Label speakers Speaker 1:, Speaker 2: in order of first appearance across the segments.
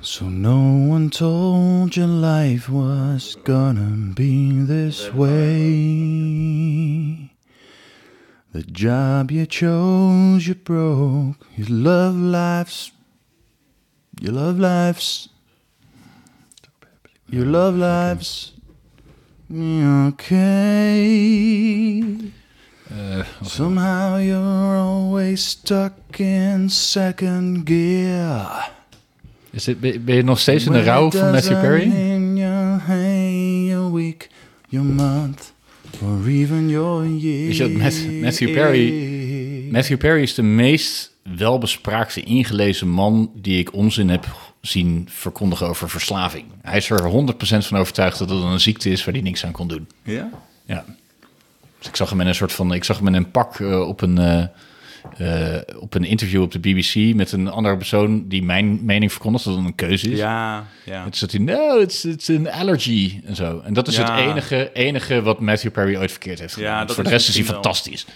Speaker 1: So no one told you life was gonna be this way. The job you chose, you broke. You love lives. You love lives. You love lives. Okay. Somehow you're always stuck in second gear.
Speaker 2: Is het, ben ben je nog steeds in de rouw van Matthew Perry?
Speaker 1: In your hay, your week, your month, or even your year.
Speaker 2: Is dat Matt- Matthew Perry? Matthew Perry is de meest welbespraakte, ingelezen man die ik onzin heb zien verkondigen over verslaving. Hij is er 100% van overtuigd dat het een ziekte is waar hij niks aan kon doen.
Speaker 1: Ja?
Speaker 2: Ja. Dus ik zag hem in een soort van. Ik zag hem in een pak eh, op, een, eh, eh, op een interview op de BBC met een andere persoon die mijn mening verkondigt dat het een keuze is.
Speaker 1: Ja, ja.
Speaker 2: Het zat hij, no, it's, it's an allergy en zo. En dat is
Speaker 1: Ja.
Speaker 2: het enige, enige wat Matthew Perry ooit verkeerd heeft gedaan.
Speaker 1: dat
Speaker 2: Voor de
Speaker 1: is
Speaker 2: rest is hij
Speaker 1: misschien wel.
Speaker 2: fantastisch.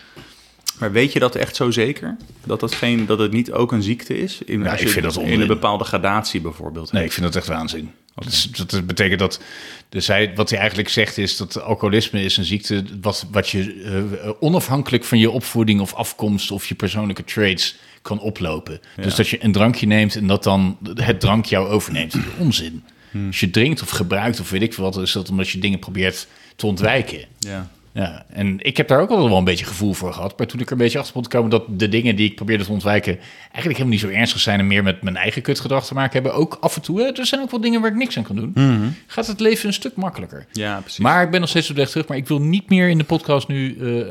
Speaker 1: Maar weet je dat echt zo zeker? Dat, dat, geen, dat het niet ook een ziekte is? In, als
Speaker 2: ik
Speaker 1: je
Speaker 2: vind dat
Speaker 1: In
Speaker 2: onzin.
Speaker 1: een bepaalde gradatie bijvoorbeeld.
Speaker 2: Nee, ik vind dat echt waanzin. Dat, is- dat betekent dat. Dus hij, wat hij eigenlijk zegt is dat alcoholisme is een ziekte. wat, wat je eh, onafhankelijk van je opvoeding of afkomst. of je persoonlijke traits kan oplopen. Dus dat je een drankje neemt en dat dan het drank jou overneemt. Dat is onzin.
Speaker 1: Hmm.
Speaker 2: Als je drinkt of gebruikt of weet ik veel wat. is dat omdat je dingen probeert te ontwijken.
Speaker 1: Ja.
Speaker 2: Ja, en ik heb daar ook altijd wel een beetje gevoel voor gehad. Maar toen ik er een beetje achter kon komen dat de dingen die ik probeerde te ontwijken. eigenlijk helemaal niet zo ernstig zijn. en meer met mijn eigen kutgedrag te maken hebben. Ook af en toe. hè, Er zijn ook wel dingen waar ik niks aan kan doen.
Speaker 1: Mhm.
Speaker 2: Gaat het leven een stuk makkelijker.
Speaker 1: Ja, precies.
Speaker 2: Maar ik ben nog steeds op de weg terug. Maar ik wil niet meer in de podcast nu eh, eh,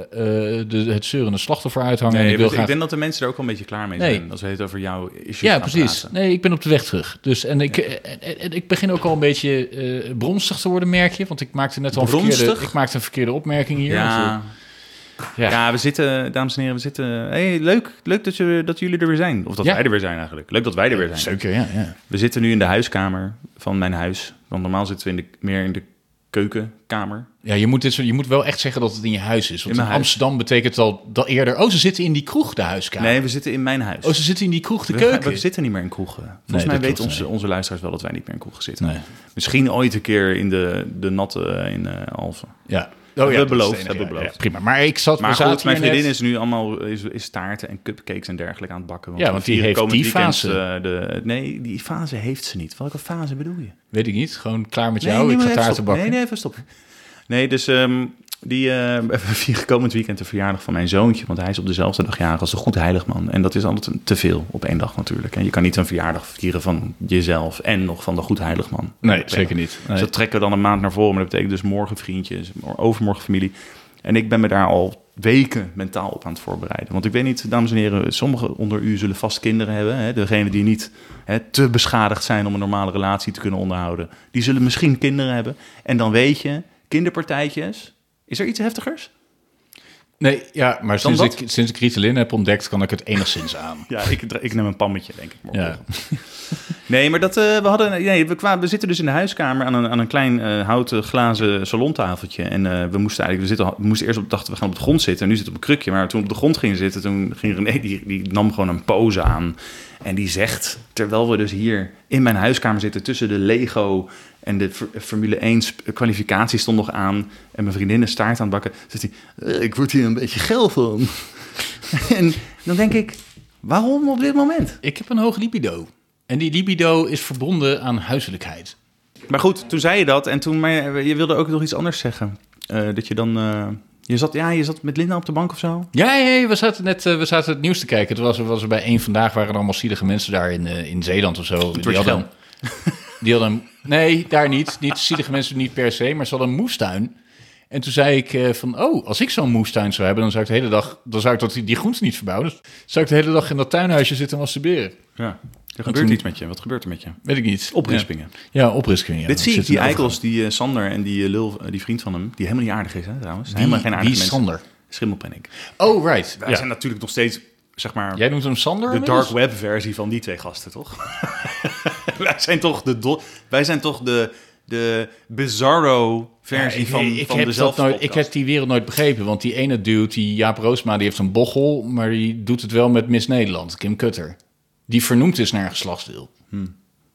Speaker 2: de, het zeurende slachtoffer uithangen.
Speaker 1: Nee,
Speaker 2: en ik wil
Speaker 1: want ik,
Speaker 2: graag...
Speaker 1: denk dat de mensen daar ook wel een beetje klaar mee
Speaker 2: Nee.
Speaker 1: zijn. Als we het over jouw issues
Speaker 2: Ja,
Speaker 1: gaan
Speaker 2: precies.
Speaker 1: praten.
Speaker 2: Nee, ik ben op de weg terug. Dus, en ik, eh, en- en ik begin ook al een beetje eh bronstig te worden, merk je. Want ik maakte net al een verkeerde,
Speaker 1: Bronstig?
Speaker 2: ik maakte een verkeerde opmerking hier.
Speaker 1: Ja.
Speaker 2: Ja.
Speaker 1: Ja. we zitten, dames en heren, we zitten... Hey, leuk leuk dat, je, dat jullie er weer zijn. Of dat
Speaker 2: Ja.
Speaker 1: wij er weer zijn eigenlijk. Leuk dat wij er weer zijn.
Speaker 2: Zeker, ja. ja.
Speaker 1: We zitten nu in de huiskamer van mijn huis. Want normaal zitten we in de, meer in de keukenkamer.
Speaker 2: Ja, je moet, dit soort, je moet wel echt zeggen dat het in je huis is.
Speaker 1: In
Speaker 2: Want
Speaker 1: mijn
Speaker 2: in,
Speaker 1: huis.
Speaker 2: Amsterdam betekent al dat eerder... Oh, ze zitten in die kroeg, de huiskamer.
Speaker 1: Nee, we zitten in mijn huis.
Speaker 2: Oh, ze zitten in die kroeg, de
Speaker 1: we,
Speaker 2: keuken.
Speaker 1: we zitten niet meer in kroegen. Volgens
Speaker 2: Nee,
Speaker 1: mij
Speaker 2: dat
Speaker 1: weten
Speaker 2: klopt,
Speaker 1: onze, onze luisteraars wel dat wij niet meer in kroegen zitten.
Speaker 2: Nee.
Speaker 1: Misschien ooit een keer in de, de natte eh, in eh Alphen.
Speaker 2: Ja.
Speaker 1: Hebben we
Speaker 2: dat is
Speaker 1: beloofd,
Speaker 2: het enige,
Speaker 1: hebben we
Speaker 2: ja,
Speaker 1: beloofd.
Speaker 2: ja, prima. Maar ik zat...
Speaker 1: Maar
Speaker 2: we
Speaker 1: goed,
Speaker 2: zaten
Speaker 1: mijn
Speaker 2: hier
Speaker 1: vriendin
Speaker 2: net-
Speaker 1: is nu allemaal is, is taarten en cupcakes en dergelijke aan het bakken.
Speaker 2: Ja, want die
Speaker 1: hier
Speaker 2: heeft
Speaker 1: komend
Speaker 2: die
Speaker 1: weekend,
Speaker 2: fase.
Speaker 1: eh, de, nee, die fase heeft ze niet. Welke fase bedoel je?
Speaker 2: Weet ik niet. Gewoon klaar met jou. ik
Speaker 1: maar
Speaker 2: ga
Speaker 1: even
Speaker 2: taarten
Speaker 1: stoppen.
Speaker 2: bakken.
Speaker 1: Nee, nee, even stoppen. Nee, dus ehm, die eh, we vieren komend weekend de verjaardag van mijn zoontje. Want hij is op dezelfde dag jarig als de goed heiligman. En dat is altijd een- te veel op één dag natuurlijk. En je kan niet een verjaardag vieren van jezelf en nog van de goed heiligman.
Speaker 2: Nee, zeker niet. Nee.
Speaker 1: Dus dat trekken we dan een maand naar voren. Maar dat betekent dus morgen vriendjes, mor- overmorgen familie. En ik ben me daar al weken mentaal op aan het voorbereiden. Want ik weet niet, dames en heren, sommigen onder u zullen vast kinderen hebben. Hè? Degene die niet hè, te beschadigd zijn om een normale relatie te kunnen onderhouden. Die zullen misschien kinderen hebben. En dan weet je, kinderpartijtjes. Is er iets heftigers?
Speaker 2: Nee, ja, maar sinds
Speaker 1: dat?
Speaker 2: ik, sinds ik Ritalin heb ontdekt, kan ik het enigszins aan.
Speaker 1: Ja, ik, ik neem een pammetje, denk ik. Morgen.
Speaker 2: Ja.
Speaker 1: Nee, maar dat, eh, we, hadden, nee, we, kwamen, we zitten dus in de huiskamer aan een, aan een klein eh, houten glazen salontafeltje. En eh, we moesten eigenlijk, we, zitten, we moesten eerst op, dachten we gaan op de grond zitten. En nu zitten we op een krukje. Maar toen we op de grond gingen zitten, toen ging René, die, die nam gewoon een pose aan. En die zegt, terwijl we dus hier in mijn huiskamer zitten tussen de Lego en de F- Formule 1 sp- kwalificatie stond nog aan. En mijn vriendin is staart aan het bakken. Zegt hij, "Eh, ik word hier een beetje geil van. en dan denk ik, waarom op dit moment?
Speaker 2: Ik heb een hoog libido. En die libido is verbonden aan huiselijkheid.
Speaker 1: Maar goed, toen zei je dat en toen, maar je wilde ook nog iets anders zeggen. Eh, dat je dan, eh, je zat, ja, je zat met Linda op de bank of zo.
Speaker 2: Ja, ja, ja, we zaten net eh, we zaten het nieuws te kijken. Toen was er, was er bij één vandaag waren er allemaal zielige mensen daar in, eh, in Zeeland of zo. Die hadden, die hadden. Nee, daar niet. Niet zielige mensen niet per se, maar ze hadden een moestuin. En toen zei ik eh, van, oh, als ik zo'n moestuin zou hebben, dan zou ik de hele dag, dan zou ik dat, die, die groenten niet verbouwen. Dan zou ik de hele dag in dat tuinhuisje zitten masturberen.
Speaker 1: Ja. Er
Speaker 2: gebeurt iets
Speaker 1: met je. Wat gebeurt er met je?
Speaker 2: Weet ik niet.
Speaker 1: Oprispingen.
Speaker 2: Ja, ja oprispingen. Ja.
Speaker 1: Dit
Speaker 2: Dat
Speaker 1: zie ik,
Speaker 2: zit
Speaker 1: die
Speaker 2: in overal.
Speaker 1: eikels, die eh, Sander en die eh, lul, eh, die vriend van hem, die helemaal niet aardig is, hè, trouwens.
Speaker 2: Wie-
Speaker 1: helemaal geen aardige
Speaker 2: wie is
Speaker 1: mensen.
Speaker 2: Sander?
Speaker 1: Schimmelpanic.
Speaker 2: Oh, right.
Speaker 1: Wij
Speaker 2: Ja.
Speaker 1: zijn natuurlijk nog steeds, zeg maar,
Speaker 2: Jij noemt hem Sander?
Speaker 1: de
Speaker 2: inmiddels?
Speaker 1: dark web versie van die twee gasten, toch? wij zijn toch de, do- wij zijn toch de, de bizarro versie
Speaker 2: Ja, ik-
Speaker 1: van,
Speaker 2: ik
Speaker 1: van
Speaker 2: heb
Speaker 1: de
Speaker 2: dat nooit, Ik
Speaker 1: zelfpodcast.
Speaker 2: heb die wereld nooit begrepen, want die ene dude, die Jaap Roosma, die heeft een bochel, maar dus die doet het wel met Miss Nederland, Kim Kutter. Die vernoemd is naar een geslachtsdeel.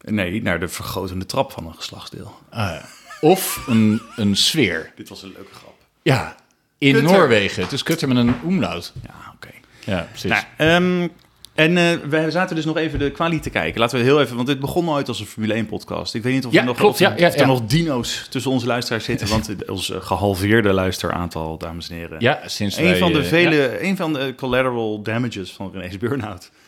Speaker 1: Nee, naar de vergrotende trap van een geslachtsdeel.
Speaker 2: Ah, of een, een sfeer.
Speaker 1: Dit was een leuke grap.
Speaker 2: Ja, in
Speaker 1: Kutter.
Speaker 2: Noorwegen. Het is kutter met een umlaut.
Speaker 1: Ja, oké.
Speaker 2: Ja, precies.
Speaker 1: Nou, ehm, en eh we zaten dus nog even de kwalie te kijken. Laten we heel even, want dit begon ooit als een Formule 1-podcast. Ik weet niet of,
Speaker 2: Ja,
Speaker 1: er, nog,
Speaker 2: klopt,
Speaker 1: of er-
Speaker 2: ja, ja,
Speaker 1: of er
Speaker 2: ja.
Speaker 1: nog dino's tussen onze luisteraars zitten. Want ons eh, gehalveerde luisteraantal, dames en heren.
Speaker 2: ja, sinds
Speaker 1: Een
Speaker 2: wij,
Speaker 1: van de
Speaker 2: eh,
Speaker 1: vele, een van de collateral damages van René's burn-out.
Speaker 2: ja.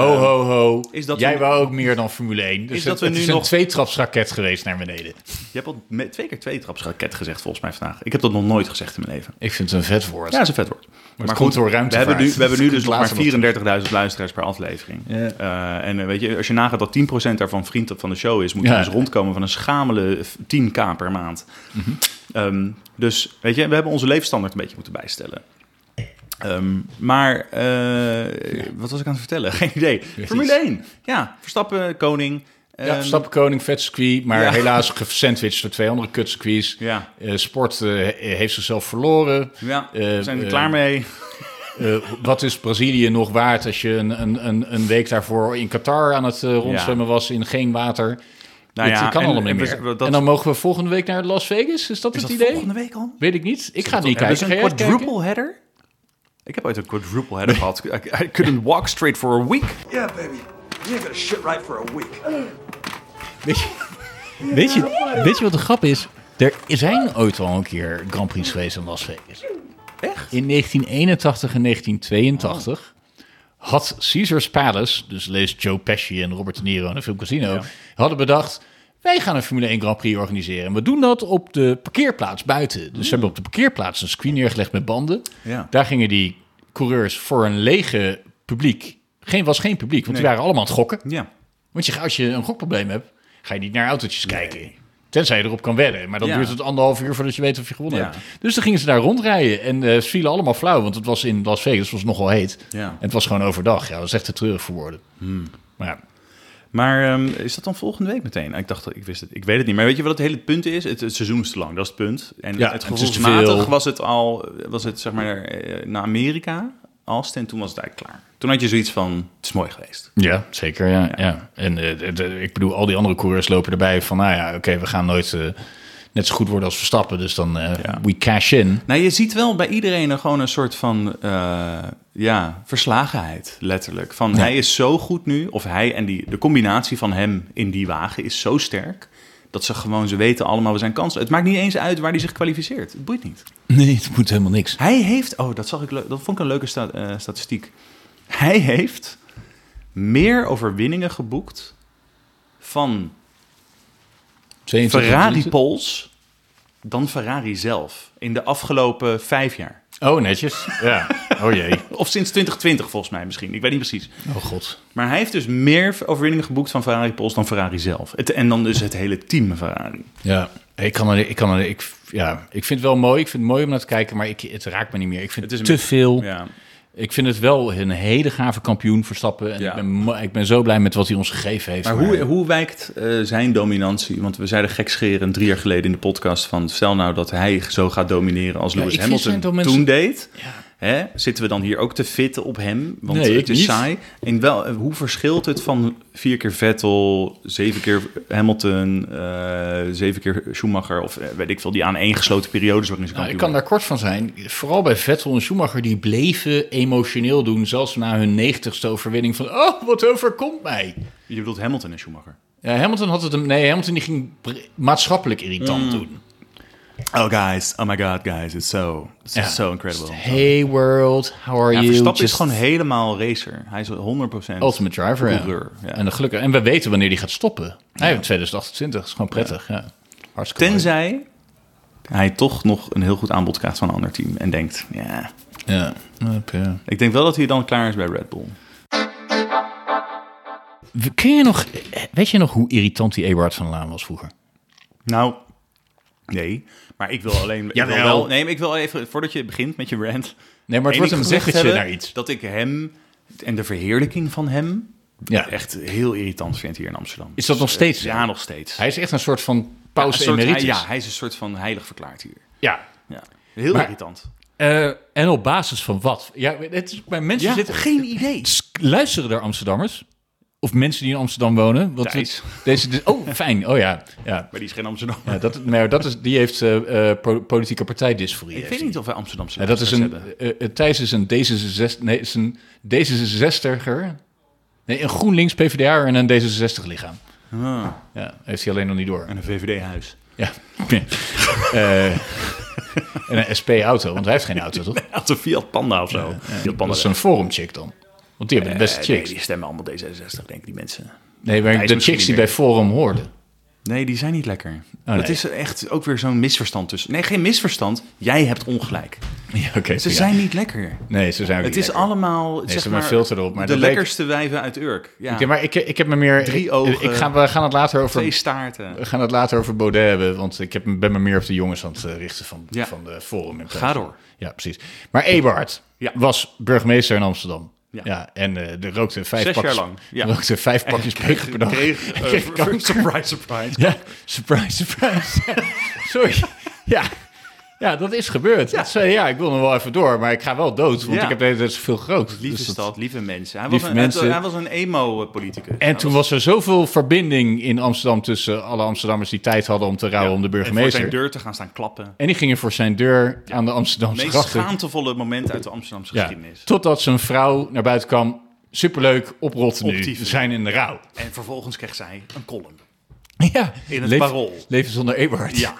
Speaker 2: Ho, ho, ho.
Speaker 1: Is dat
Speaker 2: Jij
Speaker 1: we-
Speaker 2: wou ook meer dan Formule 1. Dus
Speaker 1: Is
Speaker 2: het,
Speaker 1: dat we
Speaker 2: het
Speaker 1: nu
Speaker 2: is een
Speaker 1: nog-
Speaker 2: tweetrapsraket geweest naar beneden.
Speaker 1: Je hebt al me- twee keer twee trapsraket gezegd volgens mij vandaag. Ik heb dat nog nooit gezegd in mijn leven.
Speaker 2: Ik vind het een vet woord.
Speaker 1: Ja, dat is een vet woord.
Speaker 2: Maar, het komt door
Speaker 1: We
Speaker 2: ruimtevaart.
Speaker 1: hebben, nu, we hebben nu dus nog
Speaker 2: Later nog.
Speaker 1: maar 34.000 luisteraars per aflevering.
Speaker 2: Ja.
Speaker 1: Eh, en eh, weet je, als je nagaat dat 10% daarvan vriend van de show is, moet
Speaker 2: Ja.
Speaker 1: je dus rondkomen van een schamele 10k per maand.
Speaker 2: Mhm.
Speaker 1: Ehm, dus weet je, we hebben onze leefstandaard een beetje moeten bijstellen. Ehm, maar eh, wat was ik aan het vertellen? Geen idee.
Speaker 2: niet.
Speaker 1: Formule 1. Ja, Verstappen, Koning.
Speaker 2: Ja,
Speaker 1: Ehm,
Speaker 2: Verstappen Koning, vet circuit, maar
Speaker 1: ja.
Speaker 2: helaas gesandwiched door twee andere kutcircuits.
Speaker 1: Ja,
Speaker 2: Eh, sport eh, he- heeft zichzelf verloren.
Speaker 1: ja
Speaker 2: Eh,
Speaker 1: we zijn er
Speaker 2: eh,
Speaker 1: klaar mee.
Speaker 2: Eh, wat is Brazilië nog waard als je een, een, een, een week daarvoor in Qatar aan het eh, rondzwemmen was in geen water?
Speaker 1: Nou
Speaker 2: het
Speaker 1: ja,
Speaker 2: kan
Speaker 1: en-
Speaker 2: allemaal
Speaker 1: en
Speaker 2: niet
Speaker 1: we-
Speaker 2: meer.
Speaker 1: we- dat-
Speaker 2: en dan mogen we volgende week naar Las Vegas? Is dat
Speaker 1: Is
Speaker 2: het
Speaker 1: dat
Speaker 2: idee?
Speaker 1: volgende week al?
Speaker 2: Weet ik niet. Ik ga het niet
Speaker 1: Hebben
Speaker 2: kijken.
Speaker 1: ze
Speaker 2: Ga jij
Speaker 1: een
Speaker 2: het kijken?
Speaker 1: quadruple header? Ik heb ooit een quadruple header gehad. I, I couldn't walk straight for a week.
Speaker 3: Yeah, baby. You ain't got a shit right for a week.
Speaker 2: Weet je, weet, je, weet je wat de grap is? Er zijn ooit al een keer Grand Prix geweest in Las Vegas.
Speaker 1: Echt?
Speaker 2: In 1981 en 1982 had Caesars Palace, dus lees Joe Pesci en Robert De Niro in een film Casino, hadden bedacht, wij gaan een Formule 1 Grand Prix organiseren. En we doen dat op de parkeerplaats buiten. Dus ze hebben op de parkeerplaats een screen neergelegd met banden.
Speaker 1: Ja.
Speaker 2: Daar gingen die coureurs voor een lege publiek. Geen, was geen publiek, want die waren allemaal aan het gokken.
Speaker 1: Ja.
Speaker 2: Want je, als je een gokprobleem hebt, ga je niet naar autootjes kijken. Tenzij je erop kan wedden. Maar dan
Speaker 1: Ja.
Speaker 2: duurt het anderhalf uur voordat je weet of je gewonnen
Speaker 1: Ja.
Speaker 2: hebt. Dus dan gingen ze daar rondrijden. En eh, ze vielen allemaal flauw. Want het was in Las Vegas, het was nogal heet.
Speaker 1: Ja.
Speaker 2: En het was gewoon overdag. Ja, dat is echt te treurig voor woorden. Maar ja,
Speaker 1: Maar ehm, is dat dan volgende week meteen? Ik dacht, dat- ik wist het. Ik weet het niet. Maar weet je wat het hele punt is? Het, het seizoen is te lang, dat is het punt. En
Speaker 2: Ja,
Speaker 1: het
Speaker 2: het is te
Speaker 1: gevoelsmatig
Speaker 2: veel.
Speaker 1: was het al, was het zeg maar eh, naar Amerika, Alst, en toen was het eigenlijk klaar. Toen had je zoiets van, het is mooi geweest.
Speaker 2: ja zeker. Ja, ja. En eh, de- de- ik bedoel, al die andere coureurs lopen erbij van... Nou ja, oké, we gaan nooit eh, net zo goed worden als Verstappen. Dus dan eh,
Speaker 1: Ja.
Speaker 2: we cash in.
Speaker 1: Nou, je ziet wel bij iedereen een- gewoon een soort van eh, ja, verslagenheid, letterlijk. Van hij is zo goed nu, of hij en die, de combinatie van hem in die wagen is zo sterk. Dat ze gewoon, ze weten allemaal, we zijn kansen. Het maakt niet eens uit waar hij zich kwalificeert. Het boeit niet.
Speaker 2: Nee, het moet helemaal niks.
Speaker 1: Hij heeft, oh, dat, zag ik, leuk- dat vond ik een leuke sta- eh, statistiek. Hij heeft meer overwinningen geboekt van
Speaker 2: 22 minuten.
Speaker 1: Ferrari-Pols dan Ferrari zelf. In de afgelopen vijf jaar.
Speaker 2: Oh, netjes. Ja. Oh jee.
Speaker 1: Of sinds 2020 volgens mij misschien. Ik weet niet precies.
Speaker 2: Oh god.
Speaker 1: Maar hij heeft dus meer overwinningen geboekt van Ferrari Pols dan Ferrari zelf. Het, en dan dus het hele team Ferrari.
Speaker 2: Ja, ik kan er, ik kan er, ik, ja, ik vind het wel mooi. Ik vind het mooi om naar te kijken, maar ik, het raakt me niet meer. Ik vind
Speaker 1: Het
Speaker 2: het
Speaker 1: is
Speaker 2: te
Speaker 1: een-
Speaker 2: veel.
Speaker 1: Ja.
Speaker 2: Ik vind het wel een hele gave kampioen Verstappen. En
Speaker 1: Ja.
Speaker 2: ik, ben, mo- ik ben zo blij met wat hij ons gegeven heeft. nou,
Speaker 1: Maar hoe, hoe wijkt eh, zijn dominantie? Want we zeiden gekscherend drie jaar geleden in de podcast van... stel nou dat hij zo gaat domineren als
Speaker 2: Ja,
Speaker 1: Lewis
Speaker 2: ik vind
Speaker 1: Hamilton toen
Speaker 2: zijn dominantie-
Speaker 1: deed. Hè? Zitten we dan hier ook te fitten op hem? Want
Speaker 2: Nee,
Speaker 1: het
Speaker 2: ik
Speaker 1: is
Speaker 2: niet.
Speaker 1: saai. En wel, eh, hoe verschilt het van vier keer Vettel, zeven keer Hamilton... eh, zeven keer Schumacher of eh, weet ik veel... die aan één gesloten periodes waarin ze
Speaker 2: Nou, ik
Speaker 1: kampioen
Speaker 2: kan daar kort van zijn. Vooral bij Vettel en Schumacher, die bleven emotioneel doen. Zelfs na hun negentigste overwinning van, oh, wat overkomt mij.
Speaker 1: Je bedoelt Hamilton en Schumacher.
Speaker 2: Ja, Hamilton had het hem, nee, Hamilton die ging br- maatschappelijk
Speaker 1: Mm.
Speaker 2: irritant doen.
Speaker 1: Oh guys, oh my god guys, it's so, it's
Speaker 2: Ja.
Speaker 1: so incredible.
Speaker 2: Hey world, how are
Speaker 1: Ja,
Speaker 2: you?
Speaker 1: Verstappen is
Speaker 2: Just
Speaker 1: gewoon helemaal racer. Hij is 100%.
Speaker 2: Ultimate Driver, ja.
Speaker 1: Coureur, ja.
Speaker 2: En gelukkig. En we weten wanneer die gaat stoppen. Hij heeft 2028. is gewoon prettig. Ja. Hartstikke
Speaker 1: Tenzij hij toch nog een heel goed aanbod krijgt van een ander team en denkt, ja,
Speaker 2: mooi. Ja. Hup, ja.
Speaker 1: ik denk wel dat hij dan klaar is bij Red Bull.
Speaker 2: We- Ken je nog, weet je nog hoe irritant die Ewart van der Laan was vroeger?
Speaker 1: Nou, nee, maar ik wil alleen, ik wil
Speaker 2: Jawel.
Speaker 1: wel, nee, maar ik wil even voordat je begint met je rant.
Speaker 2: Nee, maar het wordt
Speaker 1: één
Speaker 2: een
Speaker 1: ding gezegd
Speaker 2: bruggetje
Speaker 1: hebben,
Speaker 2: naar iets.
Speaker 1: Dat ik hem en de verheerlijking van hem
Speaker 2: Ja.
Speaker 1: echt heel irritant vind hier in Amsterdam.
Speaker 2: Is dat nog steeds? zo?
Speaker 1: Ja, nog steeds.
Speaker 2: Hij is echt een soort van pauze
Speaker 1: Een soort- hij-
Speaker 2: emeritus.
Speaker 1: ja, hij is een soort van heilig verklaard hier.
Speaker 2: ja.
Speaker 1: Ja. Heel
Speaker 2: Maar-
Speaker 1: irritant.
Speaker 2: Eh, en op basis van wat? Ja, het is, maar mensen
Speaker 1: Ja,
Speaker 2: zitten,
Speaker 1: geen idee.
Speaker 2: luisteren daar Amsterdammers? of mensen die in Amsterdam wonen. Want we-
Speaker 1: Thijs.
Speaker 2: deze, dus- oh, fijn. Oh ja. ja.
Speaker 1: Maar die is geen Amsterdam.
Speaker 2: ja dat, maar dat is, die heeft eh, eh, po- politieke partijdysforie.
Speaker 1: ik
Speaker 2: heeft
Speaker 1: weet
Speaker 2: die.
Speaker 1: niet of wij Amsterdamse
Speaker 2: Ja, dat is een,
Speaker 1: luisteraars
Speaker 2: eh, eh, Thijs is een D66, nee, is een D66er. Nee, een GroenLinks PvdA en een D66 lichaam.
Speaker 1: hebben. Ah,
Speaker 2: Ja, heeft hij alleen nog niet door.
Speaker 1: en een VVD-huis.
Speaker 2: Ja. Eh, en een SP-auto, want hij heeft geen auto, toch?
Speaker 1: Had een Fiat Panda of zo. Fiat Panda.
Speaker 2: Dat is een forumchick dan. Want die hebben de beste
Speaker 1: Eh, nee,
Speaker 2: chicks.
Speaker 1: die stemmen allemaal D66, denk ik, die mensen.
Speaker 2: Nee, maar
Speaker 1: is
Speaker 2: de
Speaker 1: misschien
Speaker 2: chicks die
Speaker 1: meer.
Speaker 2: bij Forum hoorden.
Speaker 1: Nee, die zijn niet lekker.
Speaker 2: Oh, nee.
Speaker 1: Dat is echt ook weer zo'n misverstand tussen. Nee, geen misverstand. Jij hebt ongelijk.
Speaker 2: Ja, oké.
Speaker 1: Ze
Speaker 2: ja.
Speaker 1: zijn niet lekker.
Speaker 2: Nee, ze zijn ook
Speaker 1: Het
Speaker 2: niet
Speaker 1: is
Speaker 2: lekker.
Speaker 1: allemaal
Speaker 2: ze
Speaker 1: zeg
Speaker 2: hebben
Speaker 1: maar,
Speaker 2: een filter erop, maar
Speaker 1: de
Speaker 2: dat leek-
Speaker 1: lekkerste wijven uit Urk. Ja.
Speaker 2: Oké, maar ik, ik heb me meer...
Speaker 1: Drie
Speaker 2: ik-
Speaker 1: ogen.
Speaker 2: Ik, ga, we gaan het later over...
Speaker 1: Twee staarten.
Speaker 2: We gaan het later over Baudet hebben, want ik heb, ben me meer op de jongens aan het eh, richten van,
Speaker 1: Ja.
Speaker 2: van de Forum. in plaats
Speaker 1: Ga
Speaker 2: van-
Speaker 1: door.
Speaker 2: Ja, precies. Maar Ebert
Speaker 1: Ja.
Speaker 2: was burgemeester in Amsterdam. Ja.
Speaker 1: Ja.
Speaker 2: en eh er rookte vijf
Speaker 1: Zes jaar
Speaker 2: pakjes,
Speaker 1: lang, ja.
Speaker 2: rookte vijf pakjes peuk per dag.
Speaker 1: Kreeg, eh,
Speaker 2: En kreeg kanker.
Speaker 1: surprise, surprise.
Speaker 2: Ja, surprise, surprise. Sorry. Ja. ja, dat is gebeurd. Ja. zei, ja, ik wil nog wel even door, maar ik ga wel dood, want
Speaker 1: Ja.
Speaker 2: ik heb de hele tijd zoveel gerookt.
Speaker 1: Lieve
Speaker 2: Dus dat-
Speaker 1: stad, lieve mensen. Hij,
Speaker 2: Lieve
Speaker 1: was, een, hij-
Speaker 2: mensen.
Speaker 1: Hij, was een emo-politicus.
Speaker 2: En toen was er zoveel verbinding in Amsterdam tussen alle Amsterdammers die tijd hadden om te rouwen om de
Speaker 1: Voor
Speaker 2: burgemeester.
Speaker 1: zijn deur te gaan staan klappen.
Speaker 2: En die gingen voor zijn deur aan de
Speaker 1: Het
Speaker 2: Amsterdamse
Speaker 1: meest
Speaker 2: grachten.
Speaker 1: schaamtevolle moment uit de Amsterdamse
Speaker 2: Ja,
Speaker 1: geschiedenis.
Speaker 2: totdat zijn vrouw naar buiten kwam. Superleuk, oprotten nu.
Speaker 1: Optieven.
Speaker 2: We zijn in de rouw.
Speaker 1: En vervolgens kreeg zij een column.
Speaker 2: Ja,
Speaker 1: In het Parool.
Speaker 2: Leven zonder Ebert.
Speaker 1: Ja.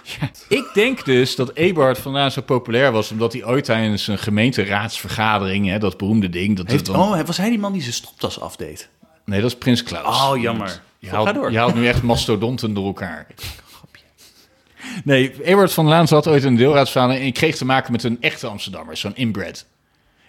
Speaker 2: Ik denk dus dat Ebert vandaan zo populair was... omdat hij ooit tijdens een gemeenteraadsvergadering... Hè, dat beroemde ding... Dat
Speaker 1: Heeft,
Speaker 2: dat dan-
Speaker 1: oh, was hij die man die zijn stoptas afdeed?
Speaker 2: Nee, dat is Prins Klaus.
Speaker 1: Oh, jammer.
Speaker 2: Je
Speaker 1: Ga
Speaker 2: haalt,
Speaker 1: door.
Speaker 2: je haalt nu echt mastodonten door elkaar. Nee, Ebert van Laan zat ooit in een deelraadsvergadering en kreeg te maken met een echte Amsterdammer, zo'n inbred.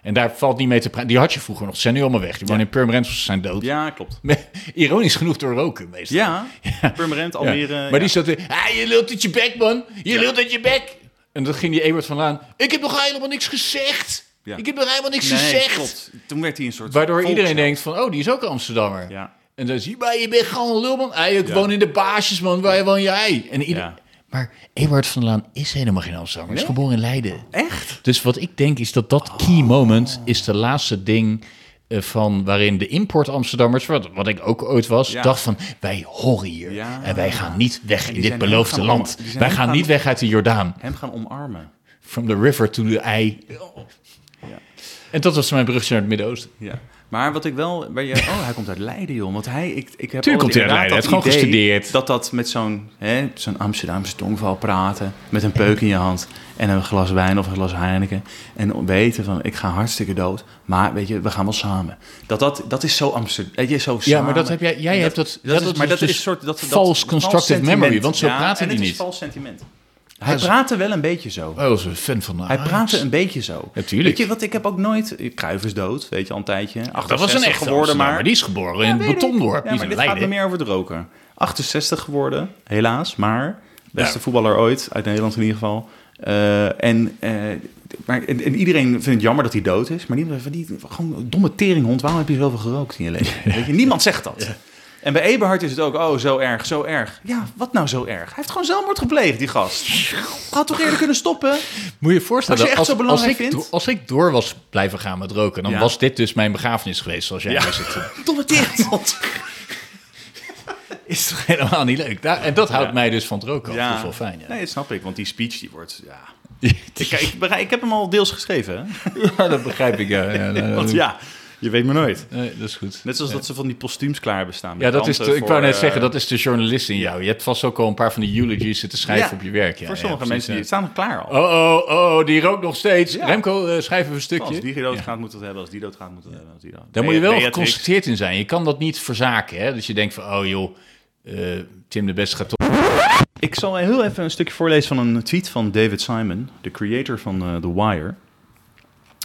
Speaker 2: En daar valt niet mee te praten. Die had je vroeger nog. Ze zijn nu allemaal weg. Die wonen in Purmerend, of ze zijn dood.
Speaker 1: Ja, klopt.
Speaker 2: Ironisch genoeg door roken meestal.
Speaker 1: Ja, Purmerend,
Speaker 2: Ja.
Speaker 1: Almere.
Speaker 2: maar
Speaker 1: ja.
Speaker 2: die zat er, ah, je lult uit je bek, man. Je lult uit je bek. En dan ging die Ebert van Laan, ik heb nog helemaal niks gezegd.
Speaker 1: Ja.
Speaker 2: Ik heb nog helemaal niks
Speaker 1: nee,
Speaker 2: gezegd.
Speaker 1: klopt. Toen werd hij een soort
Speaker 2: Waardoor iedereen
Speaker 1: volksheld.
Speaker 2: denkt van, oh, die is ook Amsterdammer.
Speaker 1: Ja.
Speaker 2: En dan zie je, maar je bent gewoon een lul, man. Hey, ik
Speaker 1: Ja.
Speaker 2: woon in de baasjes, man. Waar woon jij? En ieder...
Speaker 1: Ja.
Speaker 2: Maar Ebert van der Laan is helemaal geen Amsterdammer. Hij is geboren in Leiden.
Speaker 1: Echt? Oh.
Speaker 2: Dus wat ik denk is dat dat key moment is de laatste ding eh, van waarin de import Amsterdammers, wat, wat ik ook ooit was,
Speaker 1: Ja.
Speaker 2: dacht van wij horen hier
Speaker 1: Ja.
Speaker 2: en wij gaan niet weg in dit
Speaker 1: zijn hem
Speaker 2: beloofde
Speaker 1: gaan
Speaker 2: land.
Speaker 1: om- die zijn
Speaker 2: Wij
Speaker 1: hem
Speaker 2: gaan
Speaker 1: gaan-
Speaker 2: niet weg uit de Jordaan.
Speaker 1: Hem gaan omarmen.
Speaker 2: From the river to the eye. En dat was mijn brugje naar het Midden-Oosten.
Speaker 1: Ja. Maar wat ik wel... Waar je, oh, hij komt uit Leiden, joh. Want hij... Ik, ik heb
Speaker 2: Tuurlijk komt hij uit
Speaker 1: inderdaad
Speaker 2: Leiden. Hij heeft
Speaker 1: dat
Speaker 2: gewoon
Speaker 1: idee
Speaker 2: gestudeerd.
Speaker 1: Dat dat met zo'n hè, zo'n Amsterdamse tongval praten... met een peuk in je hand en een glas wijn of een glas Heineken... en weten van, ik ga hartstikke dood... maar weet je, we gaan wel samen. Dat, dat, dat is zo Amsterdam... Zo
Speaker 2: Ja, maar dat heb jij, jij hebt dat, ja,
Speaker 1: is, maar dat
Speaker 2: dus
Speaker 1: is een soort... Dat, dat-
Speaker 2: false
Speaker 1: vals
Speaker 2: constructive
Speaker 1: sentiment.
Speaker 2: memory, want zo
Speaker 1: Ja,
Speaker 2: praat hij
Speaker 1: en het
Speaker 2: niet.
Speaker 1: is vals sentiment.
Speaker 2: Hij
Speaker 1: Hij
Speaker 2: is-
Speaker 1: praatte wel een beetje zo.
Speaker 2: Hij was een fan van de
Speaker 1: Hij
Speaker 2: Ajax.
Speaker 1: praatte een beetje zo.
Speaker 2: Natuurlijk.
Speaker 1: Weet je wat, ik heb ook nooit... Cruijff is dood, weet je, al een tijdje.
Speaker 2: Dat was een
Speaker 1: 68
Speaker 2: echt geworden, maar die is geboren in
Speaker 1: Ja,
Speaker 2: het
Speaker 1: weet ik.
Speaker 2: Betondorp.
Speaker 1: Ja,
Speaker 2: die is
Speaker 1: maar
Speaker 2: in
Speaker 1: dit gaat me
Speaker 2: Leiden.
Speaker 1: meer over het roken. 68 geworden, helaas, maar beste
Speaker 2: Ja.
Speaker 1: voetballer ooit, uit Nederland in ieder geval. Eh, en, eh, maar, en, en iedereen vindt het jammer dat hij dood is, maar niemand van die gewoon domme teringhond, waarom heb je zoveel gerookt in je leven? Weet je, niemand zegt dat. En bij Eberhard is het ook, oh, zo erg, zo erg. Ja, wat nou zo erg? Hij heeft gewoon zelfmoord gepleegd, die gast. Had toch eerder kunnen stoppen?
Speaker 2: Moet je je voorstellen,
Speaker 1: Als je echt zo belangrijk
Speaker 2: ik,
Speaker 1: vindt?
Speaker 2: do- als ik door was blijven gaan met roken, dan
Speaker 1: Ja.
Speaker 2: was dit dus mijn begrafenis geweest, zoals jij nu zit. te-
Speaker 1: Domme teringhond.
Speaker 2: Is toch helemaal niet leuk? Daar- en dat houdt
Speaker 1: Ja.
Speaker 2: mij dus van het roken af. Dat is wel fijn, ja.
Speaker 1: Nee, dat snap ik, want die speech die wordt, ja... Ik, ik, begrijp- ik heb hem al deels geschreven,
Speaker 2: Eh,
Speaker 1: hè?
Speaker 2: Ja, dat begrijp ik, ja. ja, ja, ja.
Speaker 1: Want ja, je weet maar nooit.
Speaker 2: Nee, dat is goed.
Speaker 1: Net zoals dat ze van die postuums klaar hebben staan.
Speaker 2: Ja, dat is de,
Speaker 1: Kanten
Speaker 2: ik wou
Speaker 1: voor,
Speaker 2: net
Speaker 1: eh,
Speaker 2: zeggen, dat is de journalist in jou. Je hebt vast ook al een paar van die eulogies zitten schrijven
Speaker 1: ja,
Speaker 2: op je werk. Ja,
Speaker 1: voor
Speaker 2: ja,
Speaker 1: sommige
Speaker 2: precies,
Speaker 1: mensen die
Speaker 2: ja.
Speaker 1: staan nog klaar al.
Speaker 2: Oh, oh, oh, die rookt nog steeds.
Speaker 1: Ja.
Speaker 2: Remco, eh, schrijf even een stukje.
Speaker 1: als die dood gaat, moet dat hebben. Als die dood gaat, moet dat hebben. Als die dood.
Speaker 2: Daar moet je wel
Speaker 1: Beatrix.
Speaker 2: geconcentreerd in zijn. Je kan dat niet verzaken. Hè? Dat je denkt van, oh joh, eh, Tim de Best gaat toch...
Speaker 1: Ik zal heel even een stukje voorlezen van een tweet van David Simon, de creator van eh, The Wire.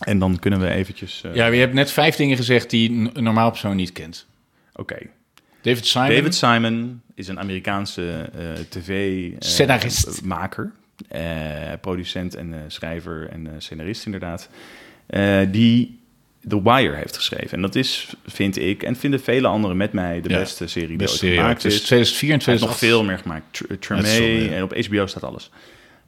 Speaker 1: En dan kunnen we eventjes... eh,
Speaker 2: Ja, je hebt net vijf dingen gezegd die een een normaal persoon niet kent.
Speaker 1: Oké.
Speaker 2: David Simon.
Speaker 1: David Simon is een Amerikaanse eh,
Speaker 2: Scenarist.
Speaker 1: tv-maker, eh, producent en eh, schrijver en eh, scenarist inderdaad, eh, die The Wire heeft geschreven. En dat is, vind ik, en vinden vele anderen met mij, de
Speaker 2: Ja,
Speaker 1: beste serie die
Speaker 2: Best
Speaker 1: ooit
Speaker 2: serieus.
Speaker 1: gemaakt
Speaker 2: Dus
Speaker 1: is.
Speaker 2: 2004 en
Speaker 1: Hij heeft nog
Speaker 2: 2008.
Speaker 1: veel meer gemaakt. Tr- eh, Tremé
Speaker 2: Dat is zonde, ja.
Speaker 1: en op HBO staat alles.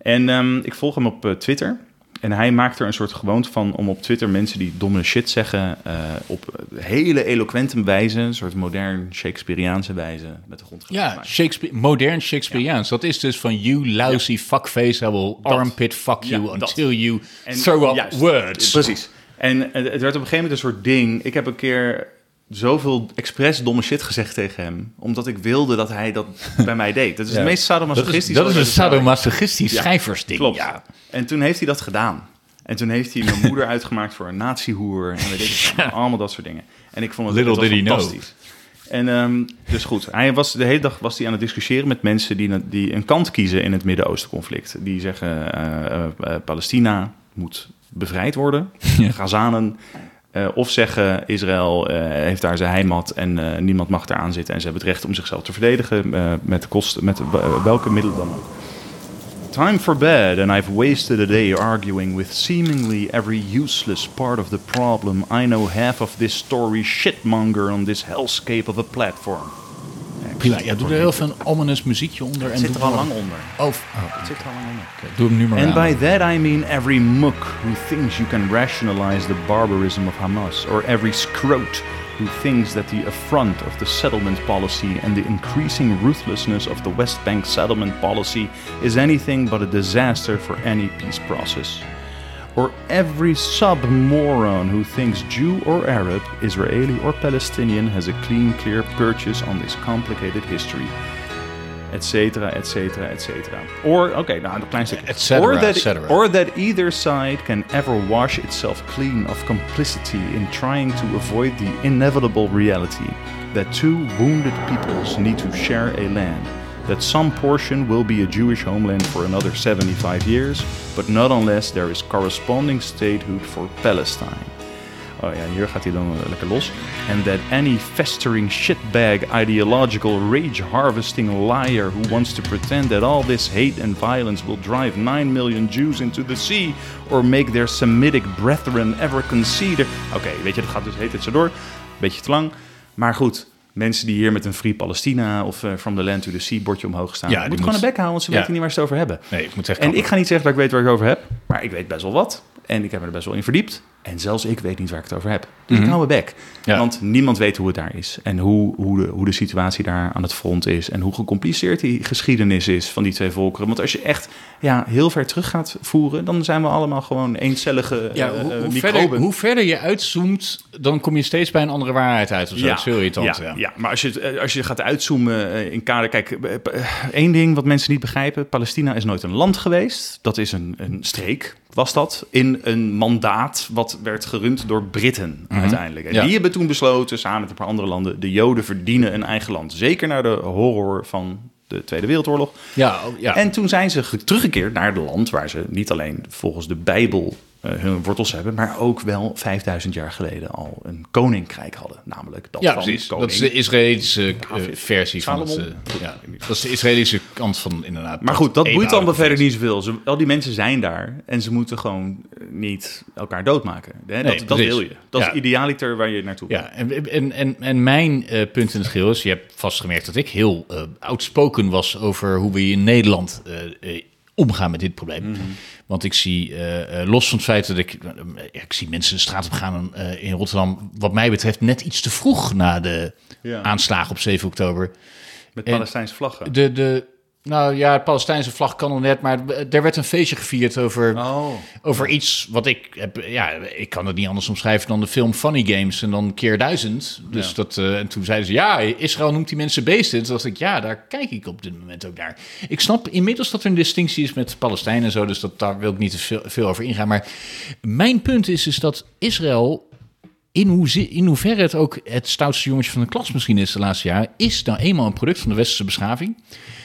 Speaker 1: En ehm, ik volg hem op eh, Twitter. En hij maakt er een soort gewoonte van om op Twitter mensen die domme shit zeggen... eh, op hele eloquente wijze, een soort modern Shakespeareaanse wijze... met de grond gelijk te
Speaker 2: Ja,
Speaker 1: maken.
Speaker 2: Shakespeare, modern Shakespeareaans. Dat is dus van you lousy fuckface, I will armpit fuck you
Speaker 1: Ja, dat.
Speaker 2: until you
Speaker 1: En-
Speaker 2: throw up
Speaker 1: juist,
Speaker 2: words.
Speaker 1: Precies. En eh, het werd op een gegeven moment een soort ding. Ik heb een keer zoveel expres domme shit gezegd tegen hem. Omdat ik wilde dat hij dat bij mij deed. Dat is het meest
Speaker 2: Dat is,
Speaker 1: sadomasochistische.
Speaker 2: dat is
Speaker 1: wat
Speaker 2: een
Speaker 1: ik heb gedaan.
Speaker 2: sadomasochistisch
Speaker 1: Ja,
Speaker 2: schrijversding.
Speaker 1: Klopt.
Speaker 2: Ja.
Speaker 1: En toen heeft hij dat gedaan. En toen heeft hij mijn moeder uitgemaakt voor een natiehoer. En weet ik het, allemaal dat soort dingen. En ik vond het,
Speaker 2: Little
Speaker 1: het was
Speaker 2: did he know.
Speaker 1: fantastisch. En ehm, dus goed, hij was, de hele dag was hij aan het discussiëren met mensen die, die een kant kiezen in het Midden-Oosten conflict. Die zeggen eh, eh, eh, Palestina moet bevrijd worden, Gazanen. Eh, of zeggen Israël eh, heeft daar zijn heimat en eh, niemand mag daar aan zitten. En ze hebben het recht om zichzelf te verdedigen eh, met, kosten, met eh, welke middelen dan ook. Time for bed, and I've wasted a day arguing with seemingly every useless part of the problem. I know half of this story shitmonger on this hellscape of a platform.
Speaker 2: Prima. Ja, doe er heel veel een ominous muziekje onder. en doe hem-
Speaker 1: er onder.
Speaker 2: Oh,
Speaker 1: Het zit er al lang onder.
Speaker 2: oké, doe hem nu maar
Speaker 1: And
Speaker 2: aan.
Speaker 1: by that I mean every mook who thinks you can rationalize the barbarism of Hamas, or every scrote who thinks that the affront of the settlement policy and the increasing ruthlessness of the West Bank settlement policy is anything but a disaster for any peace process. Or every sub moron who thinks Jew or Arab, Israeli or Palestinian has a clean, clear purchase on this complicated history et cetera, et cetera, et cetera. Or, oké, nou, een klein stukje.
Speaker 2: Et cetera,
Speaker 1: or, that,
Speaker 2: et cetera.
Speaker 1: or that either side can ever wash itself clean of complicity in trying to avoid the inevitable reality that two wounded peoples need to share a land. That some portion will be a Jewish homeland for another 75 years, but not unless there is corresponding statehood for Palestine. Oh ja, hier gaat hij dan eh, lekker los. And that any festering shitbag ideological rage harvesting liar who wants to pretend that all this hate and violence will drive 9 million Jews into the sea or make their Semitic brethren ever consider. Oké, weet je, dat gaat dus heet het zo door. Beetje te lang. Maar goed, mensen die hier met een Free Palestina of eh, From the Land to the Sea bordje omhoog staan,
Speaker 2: Ja,
Speaker 1: moeten
Speaker 2: die
Speaker 1: gewoon een
Speaker 2: moet-
Speaker 1: bek houden, want ze
Speaker 2: Ja.
Speaker 1: weten niet waar ze het over hebben.
Speaker 2: Nee, ik moet echt
Speaker 1: En
Speaker 2: kappen.
Speaker 1: ik ga niet zeggen dat ik weet waar ik het over heb, maar ik weet best wel wat. En ik heb me er best wel in verdiept. En zelfs ik weet niet waar ik het over heb. Dus ik hou mijn bek.
Speaker 2: Ja.
Speaker 1: Want niemand weet hoe het daar is. En hoe, hoe, de, hoe de situatie daar aan het front is. En hoe gecompliceerd die geschiedenis is van die twee volkeren. Want als je echt ja, heel ver terug gaat voeren... dan zijn we allemaal gewoon eencellige
Speaker 2: Ja,
Speaker 1: eh,
Speaker 2: hoe,
Speaker 1: eh,
Speaker 2: hoe
Speaker 1: microben.
Speaker 2: verder, hoe verder je uitzoomt, dan kom je steeds bij een andere waarheid uit. Of zo. Dat is heel irritant,
Speaker 1: ja,
Speaker 2: ja.
Speaker 1: ja. maar als je, het, eh, als je gaat uitzoomen eh, in kader... Kijk, eh, p- eh, één ding wat mensen niet begrijpen. Palestina is nooit een land geweest. Dat is een, een streek, was dat. In een mandaat wat werd gerund door Britten uiteindelijk. En
Speaker 2: Mhm. Ja.
Speaker 1: die hebben toen besloten, samen met een paar andere landen... de Joden verdienen een eigen land. Zeker na de horror van de Tweede Wereldoorlog.
Speaker 2: Ja, oh, ja.
Speaker 1: En toen zijn ze ge- teruggekeerd naar het land waar ze niet alleen volgens de Bijbel eh, hun wortels hebben, maar ook wel 5000 jaar geleden al een koninkrijk hadden. Namelijk dat
Speaker 2: ja
Speaker 1: van
Speaker 2: precies.
Speaker 1: koning.
Speaker 2: Dat is de Israëlische eh,
Speaker 1: David.
Speaker 2: versie van het...
Speaker 1: Salomon.
Speaker 2: eh, ja. Dat is de Israëlische kant van inderdaad...
Speaker 1: maar goed, dat boeit allemaal
Speaker 2: eeuwenoude
Speaker 1: verder niet zoveel. Ze, al die mensen zijn daar en ze moeten gewoon eh, niet elkaar doodmaken. Hè, dat, dat
Speaker 2: precies.
Speaker 1: wil je. Dat
Speaker 2: Ja.
Speaker 1: is idealiter waar je naartoe
Speaker 2: Ja, en, en, en, en mijn eh, punt in het geheel is, je hebt vast gemerkt dat ik heel eh, outspoken was over hoe we in Nederland eh, eh, omgaan met dit probleem.
Speaker 1: Mhm.
Speaker 2: Want ik zie, eh, eh, los van het feit dat ik, eh, ja, ik zie mensen de straat op gaan eh, in Rotterdam, wat mij betreft net iets te vroeg na de
Speaker 1: Ja.
Speaker 2: aanslagen op 7 oktober.
Speaker 1: Met
Speaker 2: En-
Speaker 1: Palestijnse vlaggen.
Speaker 2: De, de, nou ja, de Palestijnse vlag kan nog net, maar eh, er werd een feestje gevierd over...
Speaker 1: oh.
Speaker 2: Over iets wat ik heb, ja, ik kan het niet anders omschrijven dan de film Funny Games en dan keer duizend. Dus
Speaker 1: Ja.
Speaker 2: dat, eh, en toen zeiden ze, ja, Israël noemt die mensen beesten. Toen dacht ik, ja, daar kijk ik op dit moment ook naar. Ik snap inmiddels dat er een distinctie is met Palestijnen en zo, dus dat, daar wil ik niet te veel, veel over ingaan. Maar mijn punt is, is dat Israël, in, hoezo- in hoeverre het ook het stoutste jongetje van de klas misschien is de laatste jaren, is nou eenmaal een product van de westerse beschaving.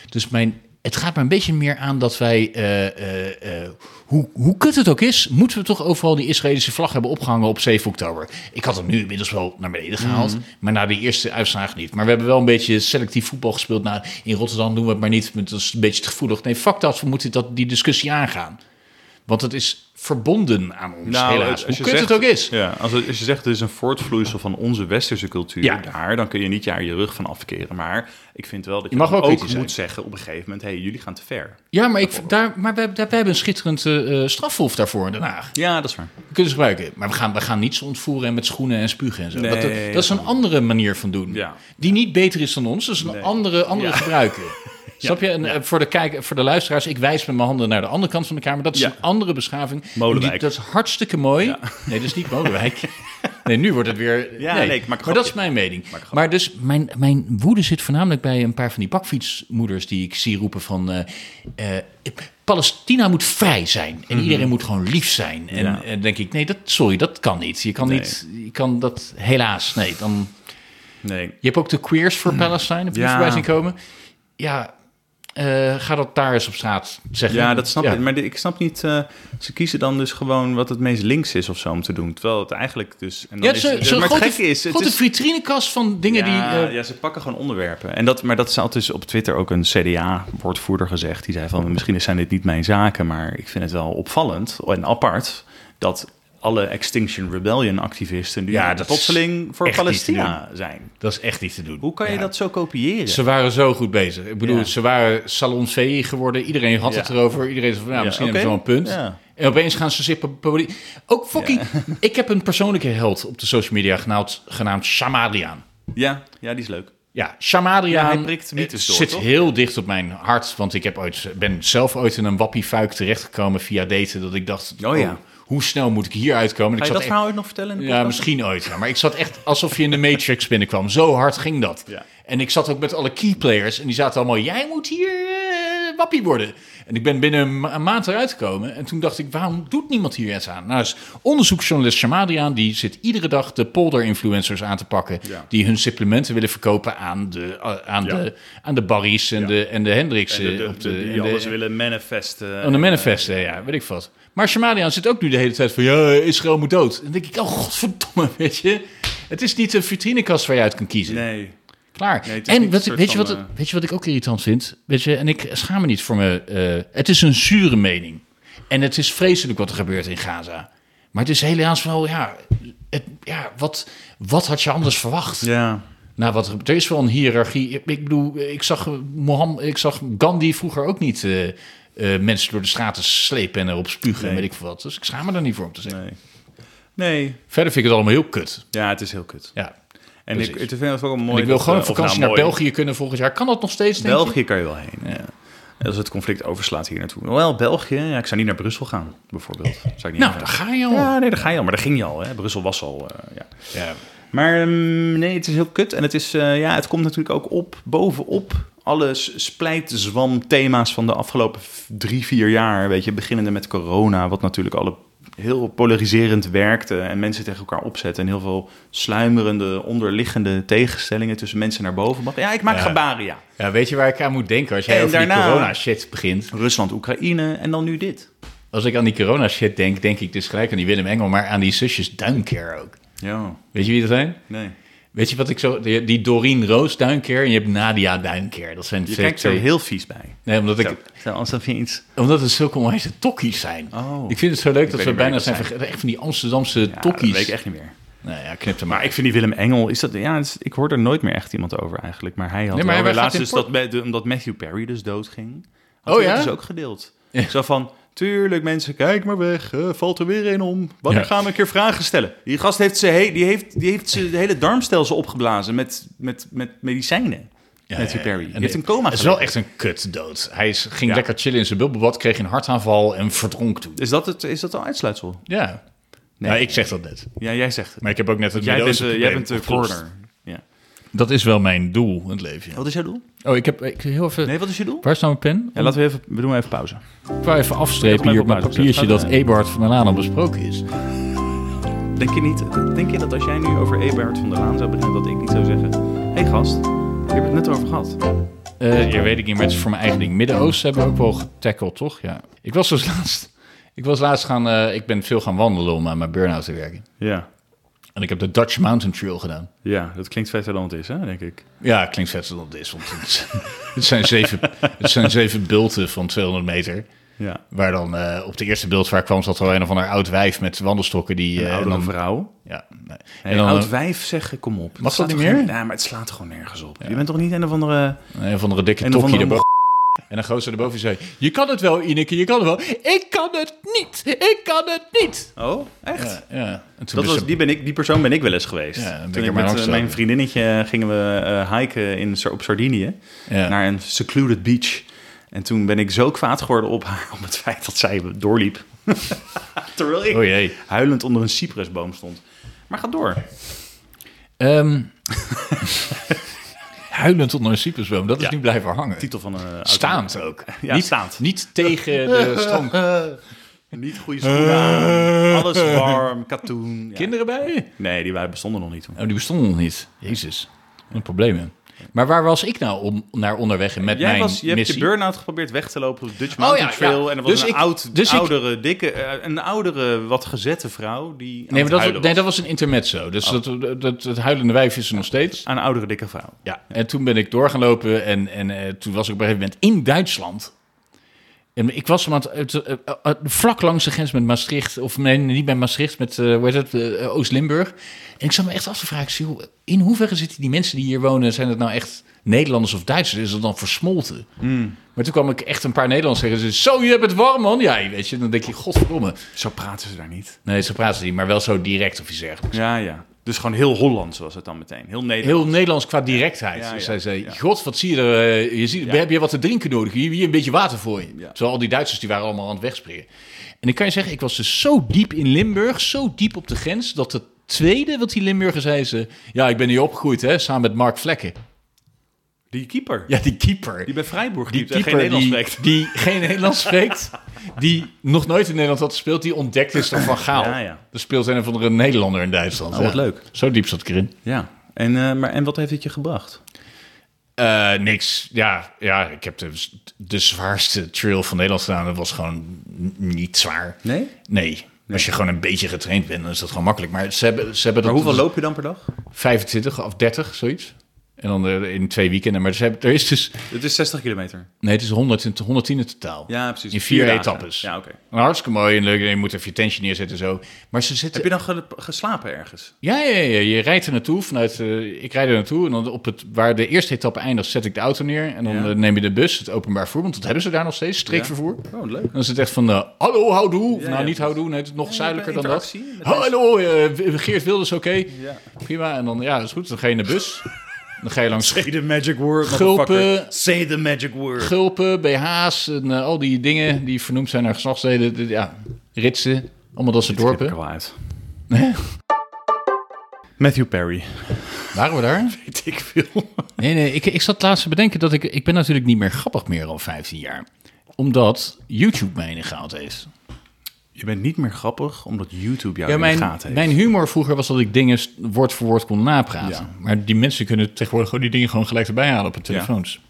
Speaker 2: Dus mijn, het gaat me een beetje meer aan dat wij, eh, eh, eh, hoe, hoe kut het ook is, moeten we toch overal die Israëlische vlag hebben opgehangen op 7 oktober. Ik had hem nu inmiddels wel naar beneden gehaald,
Speaker 1: Mhm.
Speaker 2: maar na de eerste uitslagen niet. Maar we hebben wel een beetje selectief voetbal gespeeld. Nou, in Rotterdam doen we het maar niet, want dat is een beetje te gevoelig. Nee, fuck dat, we moeten dat, die discussie aangaan. Want het is verbonden aan ons,
Speaker 1: Nou,
Speaker 2: helaas.
Speaker 1: als
Speaker 2: Hoe
Speaker 1: je
Speaker 2: kut het
Speaker 1: zegt-
Speaker 2: ook is.
Speaker 1: Ja, als, het- als je zegt, het is een voortvloeisel van onze westerse cultuur
Speaker 2: Ja.
Speaker 1: daar, dan kun je niet daar je rug van afkeren. Maar ik vind wel dat je,
Speaker 2: mag
Speaker 1: dan
Speaker 2: ook
Speaker 1: ook moet
Speaker 2: kritisch zijn.
Speaker 1: zeggen op een gegeven moment, hé, hey, jullie gaan te ver.
Speaker 2: Ja, maar, ik, daar, maar wij, daar, wij hebben een schitterend eh, eh, strafhof daarvoor in Den Haag.
Speaker 1: Ja, dat is waar.
Speaker 2: We kunnen ze gebruiken. Maar we gaan, we gaan niet zo ontvoeren en met schoenen en spugen en zo.
Speaker 1: Nee.
Speaker 2: dat, dat is een andere manier van doen.
Speaker 1: Ja.
Speaker 2: Die niet beter is dan ons. Dat is een andere, andere gebruiker. Snap je? En eh, voor, de kijk, voor de luisteraars, ik wijs met mijn handen naar de andere kant van de kamer. Dat is
Speaker 1: Ja.
Speaker 2: een andere beschaving.
Speaker 1: Molenwijk.
Speaker 2: Die- dat is hartstikke mooi. Nee, dat is niet Molenwijk. Nee, nu wordt het weer...
Speaker 1: Ja, nee, ik maak een
Speaker 2: maar dat is
Speaker 1: grapje.
Speaker 2: mijn mening. Maar dus, mijn, mijn woede zit voornamelijk bij een paar van die bakfietsmoeders die ik zie roepen van... eh, eh, Palestina moet vrij zijn en iedereen moet gewoon lief zijn.
Speaker 1: Mhm.
Speaker 2: En
Speaker 1: Ja.
Speaker 2: eh, dan denk ik, nee, dat, sorry, dat kan niet. Je kan,
Speaker 1: Nee.
Speaker 2: niet, je kan dat helaas, nee. Dan,
Speaker 1: Nee.
Speaker 2: je hebt ook de Queers for Palestine, heb
Speaker 1: Mhm.
Speaker 2: je
Speaker 1: Ja.
Speaker 2: die voorbij zien komen. Ja, eh, ga dat daar eens op straat zeggen.
Speaker 1: Ja, dat snap
Speaker 2: Ja.
Speaker 1: ik. Maar de- ik snap niet, eh, ze kiezen dan dus gewoon wat het meest links is of zo om te doen. Terwijl het eigenlijk dus... En dan
Speaker 2: Ja,
Speaker 1: is,
Speaker 2: zo-
Speaker 1: het-
Speaker 2: zo'n
Speaker 1: maar het
Speaker 2: grote,
Speaker 1: gekke is... Het
Speaker 2: grote
Speaker 1: is
Speaker 2: vitrinekast van dingen die...
Speaker 1: ja,
Speaker 2: eh,
Speaker 1: ja, ze pakken gewoon onderwerpen. En dat, maar dat zat dus op Twitter ook een CDA-woordvoerder gezegd. Die zei van, misschien zijn dit niet mijn zaken, maar ik vind het wel opvallend en apart dat alle Extinction Rebellion-activisten nu
Speaker 2: Ja,
Speaker 1: ja,
Speaker 2: dat is
Speaker 1: plotseling voor
Speaker 2: echt niet
Speaker 1: Palestina zijn.
Speaker 2: Dat is echt niet te doen.
Speaker 1: Hoe kan je
Speaker 2: Ja.
Speaker 1: dat zo kopiëren?
Speaker 2: Ze waren zo goed bezig. Ik bedoel,
Speaker 1: Ja.
Speaker 2: ze waren salonvee geworden. Iedereen had
Speaker 1: Ja.
Speaker 2: het erover. Iedereen zei van, nou,
Speaker 1: Ja,
Speaker 2: misschien
Speaker 1: oké.
Speaker 2: hebben ze wel een punt.
Speaker 1: Ja.
Speaker 2: En opeens gaan ze zippen. Poli- Ook fucking... Ik heb een persoonlijke held op de social media genaamd, genaamd Shamadriaan.
Speaker 1: ja, ja, die is leuk.
Speaker 2: Ja, Shamadriaan
Speaker 1: Ja, hij prikt mythes door,
Speaker 2: zit
Speaker 1: toch?
Speaker 2: heel dicht op mijn hart. Want ik heb ooit, ben zelf ooit in een wappiefuik terechtgekomen via daten. Dat ik dacht,
Speaker 1: Oh ja.
Speaker 2: oh, hoe snel moet ik hier uitkomen? En
Speaker 1: Ga
Speaker 2: ik
Speaker 1: je dat
Speaker 2: echt-
Speaker 1: verhaal ooit nog vertellen? in de
Speaker 2: ja,
Speaker 1: podcast?
Speaker 2: misschien ooit. ja. Maar ik zat echt alsof je in de Matrix binnenkwam. Zo hard ging dat.
Speaker 1: Ja.
Speaker 2: En ik zat ook met alle keyplayers. En die zaten allemaal, jij moet hier eh, wappie worden. En ik ben binnen een ma- een maand eruit gekomen. En toen dacht ik, waarom doet niemand hier iets aan? Nou is onderzoeksjournalist Shamadian, die zit iedere dag de polder-influencers aan te pakken.
Speaker 1: Ja.
Speaker 2: Die hun supplementen willen verkopen aan de, a- aan
Speaker 1: Ja.
Speaker 2: de, aan de Barry's en, de, en de Hendricks.
Speaker 1: En de- de-
Speaker 2: eh, op de-
Speaker 1: die
Speaker 2: en de-
Speaker 1: alles willen manifesten.
Speaker 2: aan de manifesten, ja, weet ik wat. Maar Shamadian zit ook nu de hele tijd van... ja, Israël moet dood. En dan denk ik, oh godverdomme, weet je. Het is niet een vitrinekast waar je uit kan kiezen.
Speaker 1: Nee.
Speaker 2: Klaar.
Speaker 1: Nee, het is
Speaker 2: en
Speaker 1: niet
Speaker 2: wat,
Speaker 1: een soort
Speaker 2: weet, je
Speaker 1: van,
Speaker 2: wat, het-
Speaker 1: eh,
Speaker 2: weet je wat ik ook irritant vind? Weet je, en ik schaam me niet voor me. eh, het is een zure mening. En het is vreselijk wat er gebeurt in Gaza. Maar het is helaas wel, ja... Het, ja wat, wat had je anders verwacht?
Speaker 1: Ja.
Speaker 2: Nou, wat, er is wel een hiërarchie. Ik bedoel, ik zag, eh, Moham, ik zag Gandhi vroeger ook niet eh, eh, mensen door de straten slepen en erop spugen en
Speaker 1: Nee.
Speaker 2: weet ik veel wat. Dus ik schaam me daar niet voor om te zeggen.
Speaker 1: Nee. Nee.
Speaker 2: Verder vind ik het allemaal heel kut.
Speaker 1: Ja, het is heel kut.
Speaker 2: Ja.
Speaker 1: En
Speaker 2: Precies.
Speaker 1: ik, ik vind het ook wel mooi.
Speaker 2: en ik wil
Speaker 1: dat,
Speaker 2: gewoon op
Speaker 1: eh, of
Speaker 2: vakantie
Speaker 1: nou
Speaker 2: naar
Speaker 1: mooi-
Speaker 2: België kunnen volgend jaar. Kan dat nog steeds? denk je?
Speaker 1: België kan je wel heen. Ja. En Als het conflict overslaat hier naartoe. Wel, België. Ja, ik zou niet naar Brussel gaan, bijvoorbeeld. Zou ik niet
Speaker 2: Nou,
Speaker 1: gaan.
Speaker 2: daar ga je al.
Speaker 1: Ja, nee, daar ga je al. Maar daar ging je al. Hè. Brussel was al. eh, ja.
Speaker 2: Ja.
Speaker 1: Maar ehm, nee, het is heel kut. En het, is, eh, ja, het komt natuurlijk ook op, bovenop. Alle s- splijtzwam-thema's van de afgelopen v- drie, vier jaar. Weet je, beginnende met corona, wat natuurlijk alle heel polariserend werkte. En mensen tegen elkaar opzetten. En heel veel sluimerende, onderliggende tegenstellingen tussen mensen naar boven. brachten. Ja, ik maak
Speaker 2: Ja.
Speaker 1: gebaren, ja.
Speaker 2: Ja, weet je waar ik aan moet denken als jij
Speaker 1: En
Speaker 2: over
Speaker 1: daarna-
Speaker 2: die corona-shit begint?
Speaker 1: Rusland, Oekraïne en dan nu dit.
Speaker 2: Als ik aan die corona-shit denk, denk ik dus gelijk aan die Willem Engel, maar aan die zusjes Duinker ook.
Speaker 1: Ja,
Speaker 2: Weet je wie dat zijn?
Speaker 1: nee.
Speaker 2: Weet je wat ik zo... Die die Doreen Roos Duinker en je hebt Nadia Duinker. Dat zijn
Speaker 1: Je
Speaker 2: twee-
Speaker 1: kijkt er
Speaker 2: twee-
Speaker 1: heel vies bij.
Speaker 2: Nee, omdat ik,
Speaker 1: Zo, alsof je iets...
Speaker 2: Omdat het zulke onwijze tokkies zijn.
Speaker 1: Oh.
Speaker 2: Ik vind het zo
Speaker 1: weet
Speaker 2: leuk dat we
Speaker 1: niet meer
Speaker 2: bijna
Speaker 1: wat
Speaker 2: zijn
Speaker 1: dat
Speaker 2: vergeten. Echt van die Amsterdamse
Speaker 1: Ja, dat
Speaker 2: tokkies.
Speaker 1: weet ik echt niet meer.
Speaker 2: Nou ja, knip er
Speaker 1: Maar
Speaker 2: maar.
Speaker 1: ik vind die Willem Engel, is dat, ja, het is- ik hoor er nooit meer echt iemand over eigenlijk. Maar hij had
Speaker 2: Nee, maar
Speaker 1: wel
Speaker 2: hij
Speaker 1: weer
Speaker 2: gaat
Speaker 1: laatst
Speaker 2: in
Speaker 1: dus
Speaker 2: Port-
Speaker 1: dat, met- de- omdat Matthew Perry dus doodging. Had
Speaker 2: Oh
Speaker 1: hij
Speaker 2: ja?
Speaker 1: dat dus ook gedeeld. Zo van, tuurlijk mensen, kijk maar weg, eh, valt er weer een om. Wanneer
Speaker 2: Ja.
Speaker 1: gaan we een keer vragen stellen? Die gast heeft zijn he- die heeft, die heeft zijn hele darmstelsel opgeblazen met, met, met medicijnen. Matthew Perry. Die
Speaker 2: En
Speaker 1: heeft een coma
Speaker 2: Het is
Speaker 1: gelegen.
Speaker 2: wel echt een kutdood. Hij is, ging
Speaker 1: Ja.
Speaker 2: lekker chillen in zijn bubbelbad, kreeg een hartaanval en verdronk toen.
Speaker 1: Is dat, het, is dat al uitsluitsel?
Speaker 2: Ja.
Speaker 1: Nee.
Speaker 2: Nou, ik zeg dat net.
Speaker 1: Ja, jij zegt het.
Speaker 2: Maar ik heb ook net het
Speaker 1: Jij bent,
Speaker 2: Midden-Oosten
Speaker 1: eh, jij
Speaker 2: probleem
Speaker 1: bent de
Speaker 2: opgelost.
Speaker 1: corner. Ja.
Speaker 2: Dat is wel mijn doel in het leven. ja.
Speaker 1: Wat is jouw doel?
Speaker 2: Oh, ik heb ik, heel even...
Speaker 1: Nee, wat is je doel?
Speaker 2: Waar is nou mijn pen?
Speaker 1: Ja, laten we even, we doen even pauze.
Speaker 2: Ik wou even
Speaker 1: Ik heb
Speaker 2: afstrepen
Speaker 1: hem
Speaker 2: hier
Speaker 1: even
Speaker 2: op mijn
Speaker 1: op buiten
Speaker 2: papiertje
Speaker 1: gezet.
Speaker 2: dat Eberhard van der Laan al besproken is.
Speaker 1: Denk je niet, denk je dat als jij nu over Ebert van der Laan zou beginnen, dat ik niet zou zeggen, hé hey gast, je hebt het net over gehad.
Speaker 2: Eh ja, weet ik niet, maar het is voor mijn eigen ding. Midden-Oosten hebben we ook wel getackled, toch? Ja. Ik was dus laatst... Ik was laatst gaan... eh, ik ben veel gaan wandelen om aan mijn burn-out te werken.
Speaker 1: Ja,
Speaker 2: En ik heb de Dutch Mountain Trail gedaan.
Speaker 1: ja, dat klinkt vetter dan het is, hè, denk ik.
Speaker 2: Ja, klinkt vetter dan dit is. Want het, het zijn zeven, het zijn zeven bulten van 200 meter.
Speaker 1: Ja.
Speaker 2: Waar dan eh, op de eerste beeld waar kwam zat al een of ander oud wijf met wandelstokken. Die, eh,
Speaker 1: Een
Speaker 2: en
Speaker 1: oudere
Speaker 2: dan-
Speaker 1: vrouw.
Speaker 2: Ja, nee.
Speaker 1: Hey,
Speaker 2: en dan
Speaker 1: oud
Speaker 2: een,
Speaker 1: wijf zeggen, kom op.
Speaker 2: dat
Speaker 1: slaat
Speaker 2: niet
Speaker 1: toch
Speaker 2: meer?
Speaker 1: geen- Ja, maar het slaat gewoon nergens op. Je bent toch niet een of andere...
Speaker 2: een of andere dikke
Speaker 1: Een of
Speaker 2: tokkie
Speaker 1: andere
Speaker 2: erboven. En een gozer erboven die zei, je kan het wel Ineke, je kan het wel. Ik kan het niet, ik kan het niet.
Speaker 1: Oh, echt?
Speaker 2: Ja, ja. En toen
Speaker 1: Dat
Speaker 2: is
Speaker 1: was,
Speaker 2: ze-
Speaker 1: die, ben ik, die persoon ben ik wel eens geweest.
Speaker 2: Ja, dan ben ik
Speaker 1: Toen
Speaker 2: er
Speaker 1: ik
Speaker 2: maar
Speaker 1: met
Speaker 2: langs
Speaker 1: eh,
Speaker 2: lopen.
Speaker 1: mijn vriendinnetje gingen we eh, hiken in, Sa- op Sardinië.
Speaker 2: Ja.
Speaker 1: Naar een secluded beach. En toen ben ik zo kwaad geworden op haar... om het feit dat zij doorliep. Terwijl ik
Speaker 2: Oh jee.
Speaker 1: huilend onder een cypressboom stond. Maar ga door.
Speaker 2: Ehm, huilend onder een cypressboom, dat is
Speaker 1: Ja.
Speaker 2: nu blijven hangen.
Speaker 1: Titel van eh, een...
Speaker 2: Staand ook.
Speaker 1: Ja,
Speaker 2: niet,
Speaker 1: staand.
Speaker 2: Niet tegen de stroom.
Speaker 1: Niet goede schoenen
Speaker 2: Eh.
Speaker 1: aan. Alles warm, katoen. Ja.
Speaker 2: Kinderen bij je?
Speaker 1: Nee, die wij bestonden nog niet toen.
Speaker 2: Oh, die bestonden nog niet. Jezus, wat een probleem. hè. Maar waar was ik nou om, naar onderweg en met
Speaker 1: Jij
Speaker 2: mijn
Speaker 1: was, je hebt je
Speaker 2: missie?
Speaker 1: burn-out geprobeerd weg te lopen op de Dutch Mountain
Speaker 2: ja,
Speaker 1: Trail.
Speaker 2: ja.
Speaker 1: En er was
Speaker 2: Dus
Speaker 1: een
Speaker 2: ik-
Speaker 1: oud,
Speaker 2: dus ik-
Speaker 1: oudere, dikke, eh, een oudere, wat gezette vrouw die aan
Speaker 2: Nee,
Speaker 1: het
Speaker 2: maar dat,
Speaker 1: huilen
Speaker 2: was-
Speaker 1: was. Oh.
Speaker 2: nee, dat was een intermezzo. Dus dat, dat, dat, het huilende wijf is er nog steeds.
Speaker 1: Aan een oudere, dikke vrouw.
Speaker 2: Ja. En toen ben ik door gaan lopen en, en eh, toen was ik op een gegeven moment in Duitsland. En ik was hem aan het, het- eh, eh, vlak langs de grens met Maastricht, of nee, niet bij Maastricht, met eh, hoe heet het, eh, Oost-Limburg. En ik zat me echt af te vragen, ik zie, hoe- in hoeverre zitten die mensen die hier wonen, zijn het nou echt Nederlanders of Duitsers? Is dat dan versmolten? Maar toen kwam ik echt een paar Nederlanders tegen. Ze zeiden, zo, je hebt het warm, man. Ja, weet je, dan denk je, godverdomme.
Speaker 1: Zo praten ze daar niet.
Speaker 2: Nee, ze praten niet, maar wel zo direct of je zegt.
Speaker 1: Ja, ja. Dus gewoon heel Hollands was het dan meteen. Heel Nederlands.
Speaker 2: Heel Nederlands qua directheid.
Speaker 1: Ja, ja,
Speaker 2: Dus hij zei,
Speaker 1: ja.
Speaker 2: god, wat zie je er... eh, je ziet,
Speaker 1: Ja.
Speaker 2: Heb je wat te drinken nodig? Hier, hier een beetje water voor je.
Speaker 1: Ja.
Speaker 2: Zo al die Duitsers, die waren allemaal aan het wegspringen. En ik kan je zeggen, ik was dus zo diep in Limburg, zo diep op de grens... dat het tweede wat die Limburger zei, ze... Ja, ik ben hier opgegroeid, hè, samen met Mark Vlekken.
Speaker 1: Die keeper.
Speaker 2: Ja, die keeper.
Speaker 1: Die bij Freiburg
Speaker 2: Die
Speaker 1: die, geen Nederlands
Speaker 2: die,
Speaker 1: spreekt.
Speaker 2: die geen Nederlands spreekt, die nog nooit in Nederland had gespeeld, die ontdekt is dan van Gaal.
Speaker 1: Ja, ja.
Speaker 2: Er speelt een of andere Nederlander in Duitsland.
Speaker 1: Oh, wat leuk.
Speaker 2: Zo diep zat ik erin.
Speaker 1: Ja. En, eh, maar, en wat heeft het je gebracht?
Speaker 2: Eh, niks. Ja, ja, ik heb de, de zwaarste trail van Nederland gedaan. Dat was gewoon n- niet zwaar.
Speaker 1: Nee?
Speaker 2: Nee. Als je gewoon een beetje getraind bent, dan is dat gewoon makkelijk. Maar ze hebben, ze hebben
Speaker 1: Maar
Speaker 2: dat
Speaker 1: hoeveel loop je dan per dag?
Speaker 2: 25 of 30, zoiets. En dan eh, in twee weekenden. Maar ze hebben, er is dus...
Speaker 1: Het is 60 kilometer.
Speaker 2: Nee, het is 100, in- 110 in totaal.
Speaker 1: Ja, precies.
Speaker 2: In vier,
Speaker 1: dagen.
Speaker 2: etappes.
Speaker 1: Ja, oké.
Speaker 2: Nou, Hartstikke mooi en leuk. En je moet even je tentje neerzetten en zo. Maar ze zitten...
Speaker 1: Heb je dan ge- geslapen ergens?
Speaker 2: Ja, ja, ja, je rijdt er naartoe. Vanuit, eh, ik rijd er naartoe. En dan op het, waar de eerste etappe eindigt, zet ik de auto neer. En dan
Speaker 1: Ja.
Speaker 2: eh, neem je de bus, het openbaar vervoer. Want dat hebben ze daar nog steeds, streekvervoer.
Speaker 1: Oh, leuk.
Speaker 2: Dan is het echt van, eh, hallo, houdoe. Of
Speaker 1: Ja,
Speaker 2: nou,
Speaker 1: ja,
Speaker 2: niet
Speaker 1: precies.
Speaker 2: houdoe, nee, het is nog
Speaker 1: Ja,
Speaker 2: zuidelijker
Speaker 1: je
Speaker 2: dan
Speaker 1: hebt
Speaker 2: dat.
Speaker 1: interactie met
Speaker 2: Hallo, eh, Geert Wilders, oké.
Speaker 1: Ja.
Speaker 2: Prima. En dan, ja, dat is goed. Dan ga je in de bus. dan ga je langs
Speaker 1: Say the magic word,
Speaker 2: Gulpen.
Speaker 1: motherfucker. Say the magic word.
Speaker 2: gulpen, BH's en eh, al die dingen die vernoemd zijn naar geslachtsdelen. De- Ja, ritsen, allemaal dat soort dorpen.
Speaker 1: wel uit. Matthew Perry.
Speaker 2: Waren we daar?
Speaker 1: Weet ik veel.
Speaker 2: Nee, nee, ik, ik zat laatst te bedenken dat ik... Ik ben natuurlijk niet meer grappig meer al 15 jaar. Omdat YouTube mij in de gaten heeft.
Speaker 1: Je bent niet meer grappig omdat YouTube jou
Speaker 2: Ja,
Speaker 1: in de
Speaker 2: mijn,
Speaker 1: gaten heeft.
Speaker 2: mijn humor vroeger was dat ik dingen st- woord voor woord kon napraten.
Speaker 1: Ja.
Speaker 2: Maar die mensen kunnen tegenwoordig gewoon die dingen gewoon gelijk erbij halen op hun telefoons.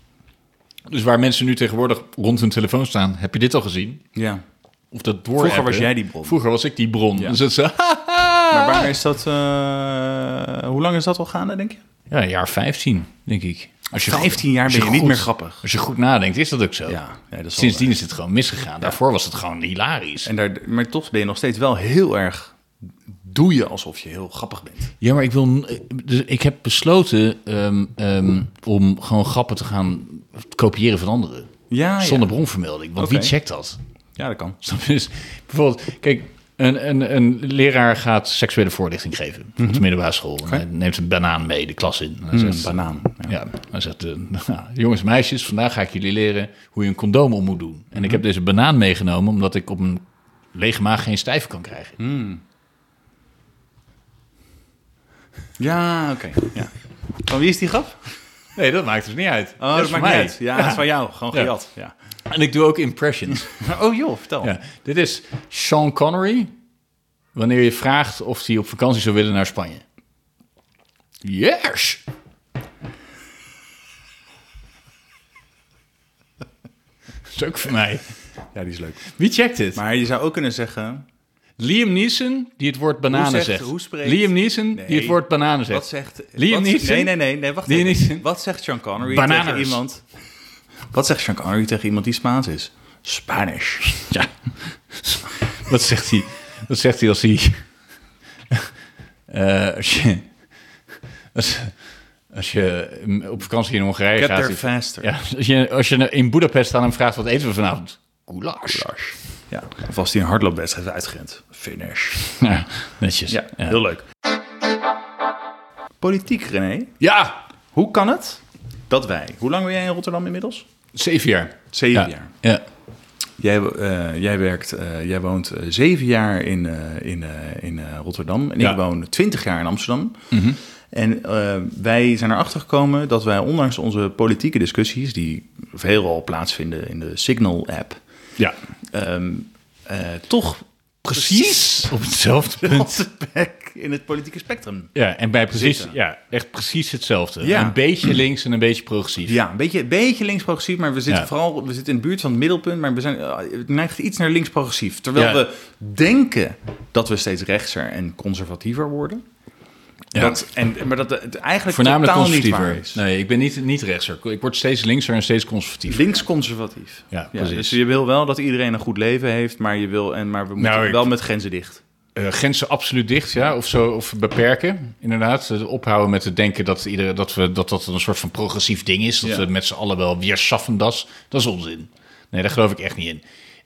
Speaker 2: Dus waar mensen nu tegenwoordig rond hun telefoon staan, heb je dit al gezien?
Speaker 1: Ja.
Speaker 2: Of dat door
Speaker 1: Vroeger was jij die bron.
Speaker 2: Vroeger was ik die bron.
Speaker 1: Ja.
Speaker 2: Dus dat ze,
Speaker 1: Maar waar is dat... eh, hoe lang is dat al gaande, denk je?
Speaker 2: ja, een jaar 15, denk ik. Als je
Speaker 1: 15 jaar
Speaker 2: als
Speaker 1: ben je niet
Speaker 2: goed-
Speaker 1: meer grappig.
Speaker 2: Als je goed nadenkt, is dat ook zo.
Speaker 1: Ja, ja, dat is wel
Speaker 2: Sindsdien is het gewoon misgegaan. Daarvoor was het gewoon hilarisch.
Speaker 1: En daar, maar toch ben je nog steeds wel heel erg... Doe je alsof je heel grappig bent.
Speaker 2: Ja, maar ik wil. Dus ik heb besloten ehm, ehm, om gewoon grappen te gaan kopiëren van anderen.
Speaker 1: Ah, Ja,
Speaker 2: Zonder bronvermelding. Want
Speaker 1: Oké.
Speaker 2: wie checkt dat?
Speaker 1: ja. ja dat kan.
Speaker 2: Snap je? Dus bijvoorbeeld, kijk, een, een, een leraar gaat seksuele voorlichting geven op de middelbare school. En hij neemt een banaan mee de klas in. En hij
Speaker 1: Een
Speaker 2: zegt,
Speaker 1: Mhm. Mm, banaan. Ja.
Speaker 2: ja, hij zegt, eh, nou, jongens, meisjes, vandaag ga ik jullie leren hoe je een condoom om moet doen. En
Speaker 1: Mhm.
Speaker 2: ik heb deze banaan meegenomen omdat ik op een lege maag geen stijf kan krijgen.
Speaker 1: Mhm. Ja, oké. Ja. Van wie is die grap?
Speaker 2: Nee, dat maakt dus niet uit.
Speaker 1: Oh, dat,
Speaker 2: is voor
Speaker 1: maakt niet
Speaker 2: mij.
Speaker 1: uit. Ja, dat is van jou. Gewoon
Speaker 2: Ja.
Speaker 1: gejat. Ja.
Speaker 2: En ik doe ook impressions.
Speaker 1: Oh joh, vertel.
Speaker 2: Ja, dit is Sean Connery. Wanneer je vraagt of hij op vakantie zou willen naar Spanje. Yes! Dat is ook voor mij.
Speaker 1: ja, die is leuk.
Speaker 2: Wie checkt dit?
Speaker 1: Maar je zou ook kunnen zeggen...
Speaker 2: Liam Neeson die het woord bananen
Speaker 1: Hoe zegt-
Speaker 2: zegt.
Speaker 1: hoe spreekt-
Speaker 2: Liam Neeson die
Speaker 1: Nee.
Speaker 2: het woord bananen zegt.
Speaker 1: Wat zegt...
Speaker 2: Liam
Speaker 1: wat-
Speaker 2: Neeson?
Speaker 1: Nee, nee, nee, nee. Wacht
Speaker 2: Liam
Speaker 1: even.
Speaker 2: Neeson?
Speaker 1: Wat zegt Sean Connery
Speaker 2: Bananas.
Speaker 1: tegen iemand... Wat zegt Sean Connery tegen iemand die Spaans is? Spanish.
Speaker 2: Ja. Wat zegt hij? Wat zegt hij als hij. Eh, als je. Als, als je op vakantie in Hongarije
Speaker 1: Get
Speaker 2: gaat.
Speaker 1: there faster.
Speaker 2: Ja, als, je, als je in Boedapest aan hem vraagt: wat eten we vanavond? Goulash.
Speaker 1: Ja. Of als hij een hardloopwedstrijd heeft uitgerend. Finish.
Speaker 2: Ja, netjes.
Speaker 1: Ja, heel leuk. Politiek, René.
Speaker 2: Ja,
Speaker 1: Hoe kan het dat wij... Hoe lang ben jij in Rotterdam inmiddels?
Speaker 2: zeven jaar.
Speaker 1: Zeven
Speaker 2: Ja.
Speaker 1: jaar.
Speaker 2: Ja.
Speaker 1: Jij, eh, jij, werkt, eh, jij woont eh, zeven jaar in, eh, in, eh, in eh, Rotterdam en
Speaker 2: Ja. Mhm.
Speaker 1: ik woon twintig jaar in Amsterdam. En eh, wij zijn erachter gekomen dat wij ondanks onze politieke discussies, die veelal plaatsvinden in de Signal-app,
Speaker 2: ja.
Speaker 1: ehm, eh, toch
Speaker 2: Precies op hetzelfde
Speaker 1: op
Speaker 2: punt.
Speaker 1: de plek in het politieke spectrum.
Speaker 2: Ja, en bij precies,
Speaker 1: Zitten.
Speaker 2: ja, echt precies hetzelfde.
Speaker 1: Ja.
Speaker 2: Een beetje links en een beetje progressief.
Speaker 1: Ja, een beetje, beetje links-progressief, maar we zitten
Speaker 2: Ja.
Speaker 1: vooral we zitten in de buurt van het middelpunt, maar we zijn, eh, het neigt iets naar links-progressief. Terwijl
Speaker 2: Ja.
Speaker 1: we denken dat we steeds rechtser en conservatiever worden.
Speaker 2: Ja.
Speaker 1: Dat, en, maar dat het eigenlijk
Speaker 2: Voornamelijk
Speaker 1: totaal niet
Speaker 2: conservatiever.
Speaker 1: waar is.
Speaker 2: Nee, ik ben niet, niet rechtser. Ik word steeds linkser en steeds conservatiever.
Speaker 1: Links-conservatief.
Speaker 2: Ja, precies.
Speaker 1: dus je wil wel dat iedereen een goed leven heeft, maar, je wil, en, maar we moeten
Speaker 2: Nou, ik-
Speaker 1: wel met grenzen dicht.
Speaker 2: Eh, grenzen absoluut dicht, ja, of zo, of beperken, inderdaad. Eh, ophouden met het denken dat, iedereen, dat, we, dat dat een soort van progressief ding is. Dat
Speaker 1: Ja.
Speaker 2: we met z'n allen wel weer schaffen, dat is- dat is onzin. Nee, daar geloof ik echt niet in.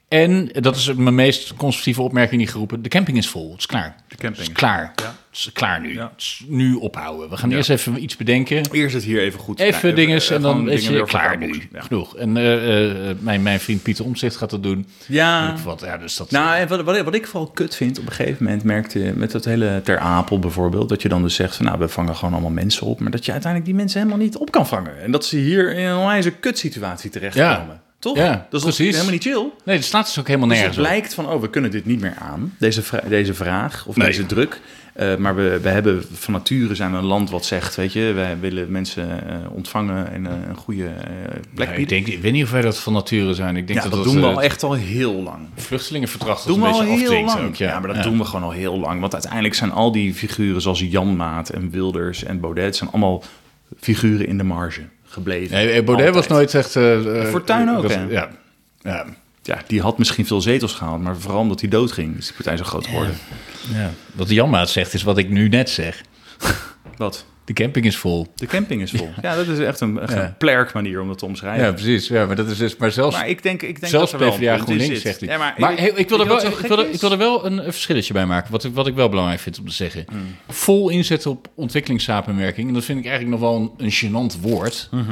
Speaker 2: En, eh, dat is mijn meest conservatieve opmerking die geroepen, de camping is vol, het is klaar. De
Speaker 1: camping.
Speaker 2: Het is klaar. Het is klaar nu.
Speaker 1: Ja.
Speaker 2: Het is nu ophouden. We gaan eerst even iets bedenken.
Speaker 1: Eerst het hier even goed.
Speaker 2: Even
Speaker 1: Ja,
Speaker 2: dinges
Speaker 1: eh,
Speaker 2: en
Speaker 1: gewoon
Speaker 2: dan is
Speaker 1: dingen weer
Speaker 2: je
Speaker 1: op elkaar
Speaker 2: klaar nu.
Speaker 1: boksen. Ja.
Speaker 2: Genoeg. En eh, eh, mijn, mijn vriend Pieter Omtzigt gaat dat doen.
Speaker 1: Ja.
Speaker 2: Wat, ja, dus dat,
Speaker 1: Nou, en wat, wat, ik- wat ik vooral kut vind, op een gegeven moment merkte je met dat hele Ter Apel bijvoorbeeld, dat je dan dus zegt van nou, we vangen gewoon allemaal mensen op, maar dat je uiteindelijk die mensen helemaal niet op kan vangen. En dat ze hier in een onwijs kutsituatie terechtkomen.
Speaker 2: Ja.
Speaker 1: Toch?
Speaker 2: Ja,
Speaker 1: dat is toch
Speaker 2: precies.
Speaker 1: helemaal niet chill.
Speaker 2: Nee, dat staat dus ook helemaal
Speaker 1: Dus
Speaker 2: nergens
Speaker 1: het blijkt van, oh, we kunnen dit niet meer aan, deze, vra- deze vraag of
Speaker 2: Nee.
Speaker 1: deze druk. Eh, maar we, we hebben van nature zijn we een land wat zegt, weet je, wij willen mensen eh, ontvangen en eh, een goede eh, plek
Speaker 2: Nee, ik,
Speaker 1: bieden.
Speaker 2: denk, ik weet niet of wij dat van nature zijn. Ik denk
Speaker 1: Ja,
Speaker 2: dat,
Speaker 1: dat, doen we
Speaker 2: eh,
Speaker 1: al echt al heel lang.
Speaker 2: het Vluchtelingenverdrag dat
Speaker 1: doen we
Speaker 2: een
Speaker 1: al
Speaker 2: beetje
Speaker 1: heel
Speaker 2: afdwingt
Speaker 1: lang.
Speaker 2: ook,
Speaker 1: ja.
Speaker 2: ja.
Speaker 1: maar dat
Speaker 2: Ja.
Speaker 1: doen we gewoon al heel lang. Want uiteindelijk zijn al die figuren zoals Janmaat en Wilders en Baudet... zijn allemaal figuren in de marge gebleven.
Speaker 2: Nee, eh, Baudet
Speaker 1: Altijd.
Speaker 2: was nooit echt... eh, eh,
Speaker 1: Fortuyn ook,
Speaker 2: dat-
Speaker 1: hè?
Speaker 2: Ja. Ja.
Speaker 1: Ja, die had misschien veel zetels gehaald... maar vooral omdat hij doodging is die partij zo groot geworden.
Speaker 2: ja. Wat Janmaat zegt is wat ik nu net zeg.
Speaker 1: Wat?
Speaker 2: De camping is vol.
Speaker 1: De camping is vol. Ja, dat is echt een, echt
Speaker 2: Ja.
Speaker 1: een plerk manier om dat te omschrijven.
Speaker 2: Ja, precies. Ja, maar, dat is dus, maar zelfs,
Speaker 1: Maar ik denk, ik denk
Speaker 2: zelfs
Speaker 1: dat er wel
Speaker 2: PvdA
Speaker 1: een punt in
Speaker 2: GroenLinks
Speaker 1: zit.
Speaker 2: zegt hij.
Speaker 1: Ja,
Speaker 2: maar heel- ik, wil
Speaker 1: weet je wat
Speaker 2: er wel,
Speaker 1: zo
Speaker 2: ik,
Speaker 1: gek
Speaker 2: wil er,
Speaker 1: is?
Speaker 2: ik wil er wel een, een verschilletje bij maken. Wat ik, wat ik wel belangrijk vind om te zeggen.
Speaker 1: Mm.
Speaker 2: Vol inzetten op ontwikkelingssamenwerking. En dat vind ik eigenlijk nog wel een, een gênant woord.
Speaker 1: Mhm.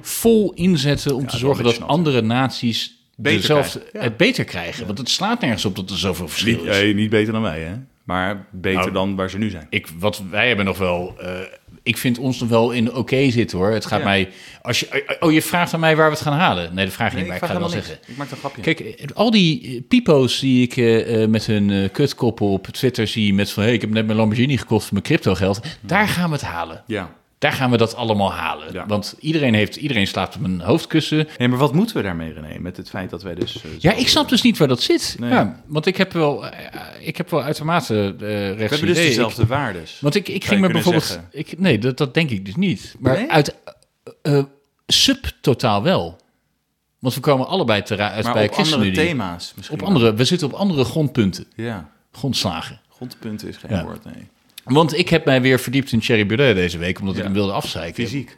Speaker 2: Vol inzetten om te
Speaker 1: is wel
Speaker 2: zorgen
Speaker 1: een
Speaker 2: dat
Speaker 1: beetje
Speaker 2: andere naties...
Speaker 1: Beter
Speaker 2: dezelfde,
Speaker 1: krijgen, ja.
Speaker 2: het beter krijgen. Want het slaat nergens op dat er zoveel verschil
Speaker 1: Niet,
Speaker 2: is.
Speaker 1: eh, niet beter dan wij, hè? Maar beter
Speaker 2: Nou,
Speaker 1: dan waar ze nu zijn.
Speaker 2: ik, wat wij hebben nog wel. eh, ik vind ons nog wel in oké zitten hoor. Het gaat
Speaker 1: Ja.
Speaker 2: mij. Als je, oh, je vraagt aan mij waar we het gaan halen. Nee, dat vraag je niet, maar ik, ga het wel zeggen.
Speaker 1: Ik maak een grapje.
Speaker 2: Kijk, eh, al die eh, pipo's die ik eh, eh, met hun eh, kutkoppen op Twitter zie. met van hé, hey, ik heb net mijn Lamborghini gekocht voor mijn cryptogeld. Daar gaan we het halen.
Speaker 1: Hmm. Ja.
Speaker 2: Daar gaan we dat allemaal halen.
Speaker 1: Ja.
Speaker 2: Want iedereen, heeft, iedereen slaapt op een hoofdkussen.
Speaker 1: Nee, maar wat moeten we daarmee, René? Met het feit dat wij dus... eh,
Speaker 2: Ja,
Speaker 1: zo-
Speaker 2: ik snap dus niet waar dat zit.
Speaker 1: Nee.
Speaker 2: Ja, want ik heb wel, eh, ik heb wel uitermate eh rechts
Speaker 1: We hebben dus
Speaker 2: idee. Ik-
Speaker 1: dezelfde waardes.
Speaker 2: Want ik, ik
Speaker 1: je
Speaker 2: ging me
Speaker 1: kunnen
Speaker 2: bijvoorbeeld.
Speaker 1: zeggen.
Speaker 2: Ik, nee, dat, dat denk ik dus niet. Maar
Speaker 1: Nee?
Speaker 2: uit eh, eh, subtotaal wel. Want we komen allebei te ra- uit
Speaker 1: Maar
Speaker 2: bij
Speaker 1: op andere
Speaker 2: ChristenUnie.
Speaker 1: thema's misschien.
Speaker 2: Op andere, we zitten op andere grondpunten,
Speaker 1: wel. Ja,
Speaker 2: grondslagen.
Speaker 1: grondpunten is geen
Speaker 2: Ja.
Speaker 1: woord, nee.
Speaker 2: Want ik heb mij weer verdiept in Thierry Baudet deze week, omdat
Speaker 1: Ja.
Speaker 2: ik hem wilde afzeiken.
Speaker 1: Fysiek.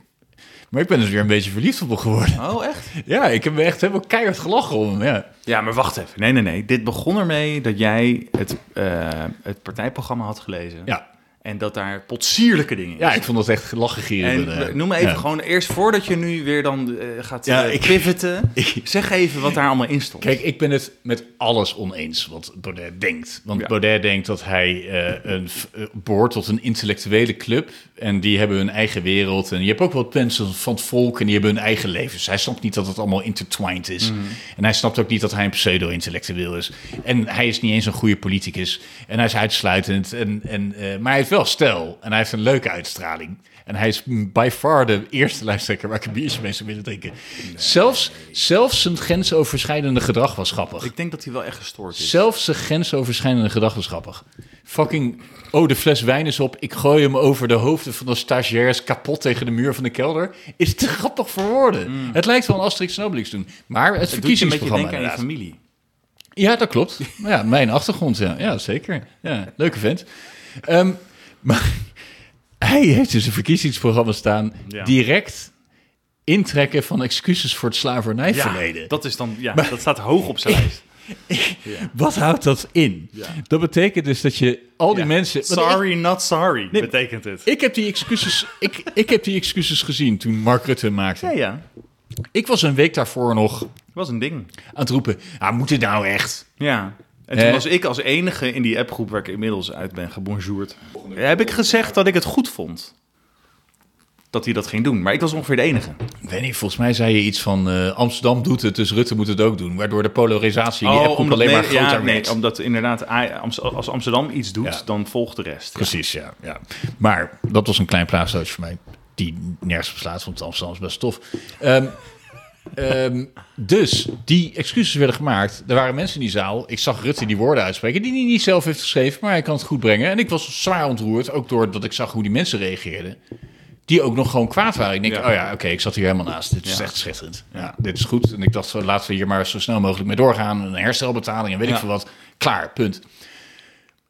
Speaker 2: Maar ik ben dus weer een beetje verliefd op hem geworden.
Speaker 1: Oh, echt?
Speaker 2: Ja, ik heb me echt helemaal keihard gelachen om hem. Ja.
Speaker 1: Ja, maar wacht even. Nee, nee, nee. Dit begon ermee dat jij het, eh, het partijprogramma had gelezen.
Speaker 2: Ja.
Speaker 1: En dat daar potsierlijke dingen in
Speaker 2: ja, ik
Speaker 1: zitten.
Speaker 2: vond dat echt lachgegierig.
Speaker 1: En eh, noem maar even gewoon, eerst voordat je nu weer dan eh, gaat
Speaker 2: Ja,
Speaker 1: eh,
Speaker 2: ik-
Speaker 1: pivoten, zeg even wat daar allemaal in stond.
Speaker 2: Kijk, ik ben het met alles oneens wat Baudet denkt. Want
Speaker 1: Ja.
Speaker 2: Baudet denkt dat hij eh, een f- eh, behoort tot een intellectuele club. En die hebben hun eigen wereld. En je hebt ook wat mensen van het volk en die hebben hun eigen levens. Hij snapt niet dat het allemaal intertwined is. En hij snapt ook niet dat hij een pseudo-intellectueel is. En hij is niet eens een goede politicus. En hij is uitsluitend. En, en, eh, maar hij heeft wel stijl. En hij heeft een leuke uitstraling. En hij is by far de eerste lijsttrekker waar ik een biertje mee zou willen drinken. Zelfs, zelfs zijn grensoverschrijdende gedrag was grappig.
Speaker 1: Ik denk dat hij wel echt gestoord is.
Speaker 2: Zelfs zijn grensoverschrijdende gedachten grappig. Fucking, oh, de fles wijn is op. Ik gooi hem over de hoofden van de stagiairs kapot tegen de muur van de kelder. Is te grappig voor woorden. Het lijkt wel een Asterix en Obelix doen. Maar het
Speaker 1: Mm. Het doet je een beetje
Speaker 2: verkiezingsprogramma
Speaker 1: denken aan je
Speaker 2: inderdaad.
Speaker 1: familie.
Speaker 2: Ja, dat klopt. Maar Ja, mijn achtergrond, ja. Ja, zeker. Ja, leuke vent. Ehm, maar hij heeft dus een verkiezingsprogramma staan...
Speaker 1: Ja.
Speaker 2: direct intrekken van excuses voor het slavernijverleden.
Speaker 1: dat is dan, ja, dat staat hoog op zijn lijst.
Speaker 2: Wat houdt dat in? Dat betekent dus dat je al die
Speaker 1: Ja.
Speaker 2: mensen... want ik-
Speaker 1: Sorry, not sorry, betekent het.
Speaker 2: Ik heb die excuses, ik, ik heb die excuses gezien toen Mark Rutte hem maakte.
Speaker 1: Ja, ja.
Speaker 2: Ik was een week daarvoor nog
Speaker 1: Dat was een ding.
Speaker 2: aan het roepen. Ah, moet dit nou echt?
Speaker 1: Ja. En toen
Speaker 2: Eh.
Speaker 1: was ik als enige in die appgroep waar ik inmiddels uit ben gebonjourd. Heb ik gezegd dat ik het goed vond. Dat hij dat ging doen. Maar ik was ongeveer de enige.
Speaker 2: Ik weet niet, volgens mij zei je iets van eh, Amsterdam doet het, dus Rutte moet het ook doen. Waardoor de polarisatie
Speaker 1: Oh,
Speaker 2: in die appgroep alleen maar
Speaker 1: nee, ja,
Speaker 2: groter
Speaker 1: nee,
Speaker 2: werd.
Speaker 1: omdat inderdaad, A- Amst- als Amsterdam iets doet,
Speaker 2: Ja.
Speaker 1: dan volgt de rest.
Speaker 2: Precies, ja, ja. Maar dat was een klein plaatsdoosje voor mij. Die nergens beslaat, want Amsterdam is best tof. Ehm, ehm, dus die excuses werden gemaakt. Er waren mensen in die zaal. Ik zag Rutte die woorden uitspreken. Die hij niet zelf heeft geschreven, maar hij kan het goed brengen. En ik was zwaar ontroerd. Ook door dat ik zag hoe die mensen reageerden. Die ook nog gewoon kwaad waren. Ik denk,
Speaker 1: Ja.
Speaker 2: oh ja, oké, ik zat hier helemaal naast. Dit is
Speaker 1: Ja.
Speaker 2: echt schitterend. Ja, dit is goed. En ik dacht, laten we hier maar zo snel mogelijk mee doorgaan. Een herstelbetaling en weet ik
Speaker 1: Ja.
Speaker 2: veel wat. Klaar, punt.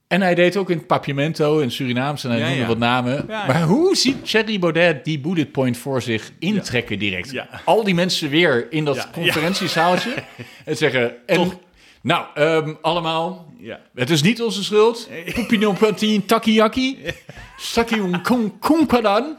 Speaker 2: En hij deed ook in Papiamento in Surinaams en hij
Speaker 1: Ja,
Speaker 2: noemde
Speaker 1: ja.
Speaker 2: wat namen.
Speaker 1: ja.
Speaker 2: Maar hoe ziet Thierry Baudet die bullet point voor zich intrekken direct?
Speaker 1: Ja.
Speaker 2: Al die mensen weer in dat
Speaker 1: Ja.
Speaker 2: conferentiezaaltje en zeggen... En, Nou, ehm, allemaal,
Speaker 1: Ja.
Speaker 2: het is niet onze schuld. Poepino Pantin Takiyaki. Sakion Konkadan.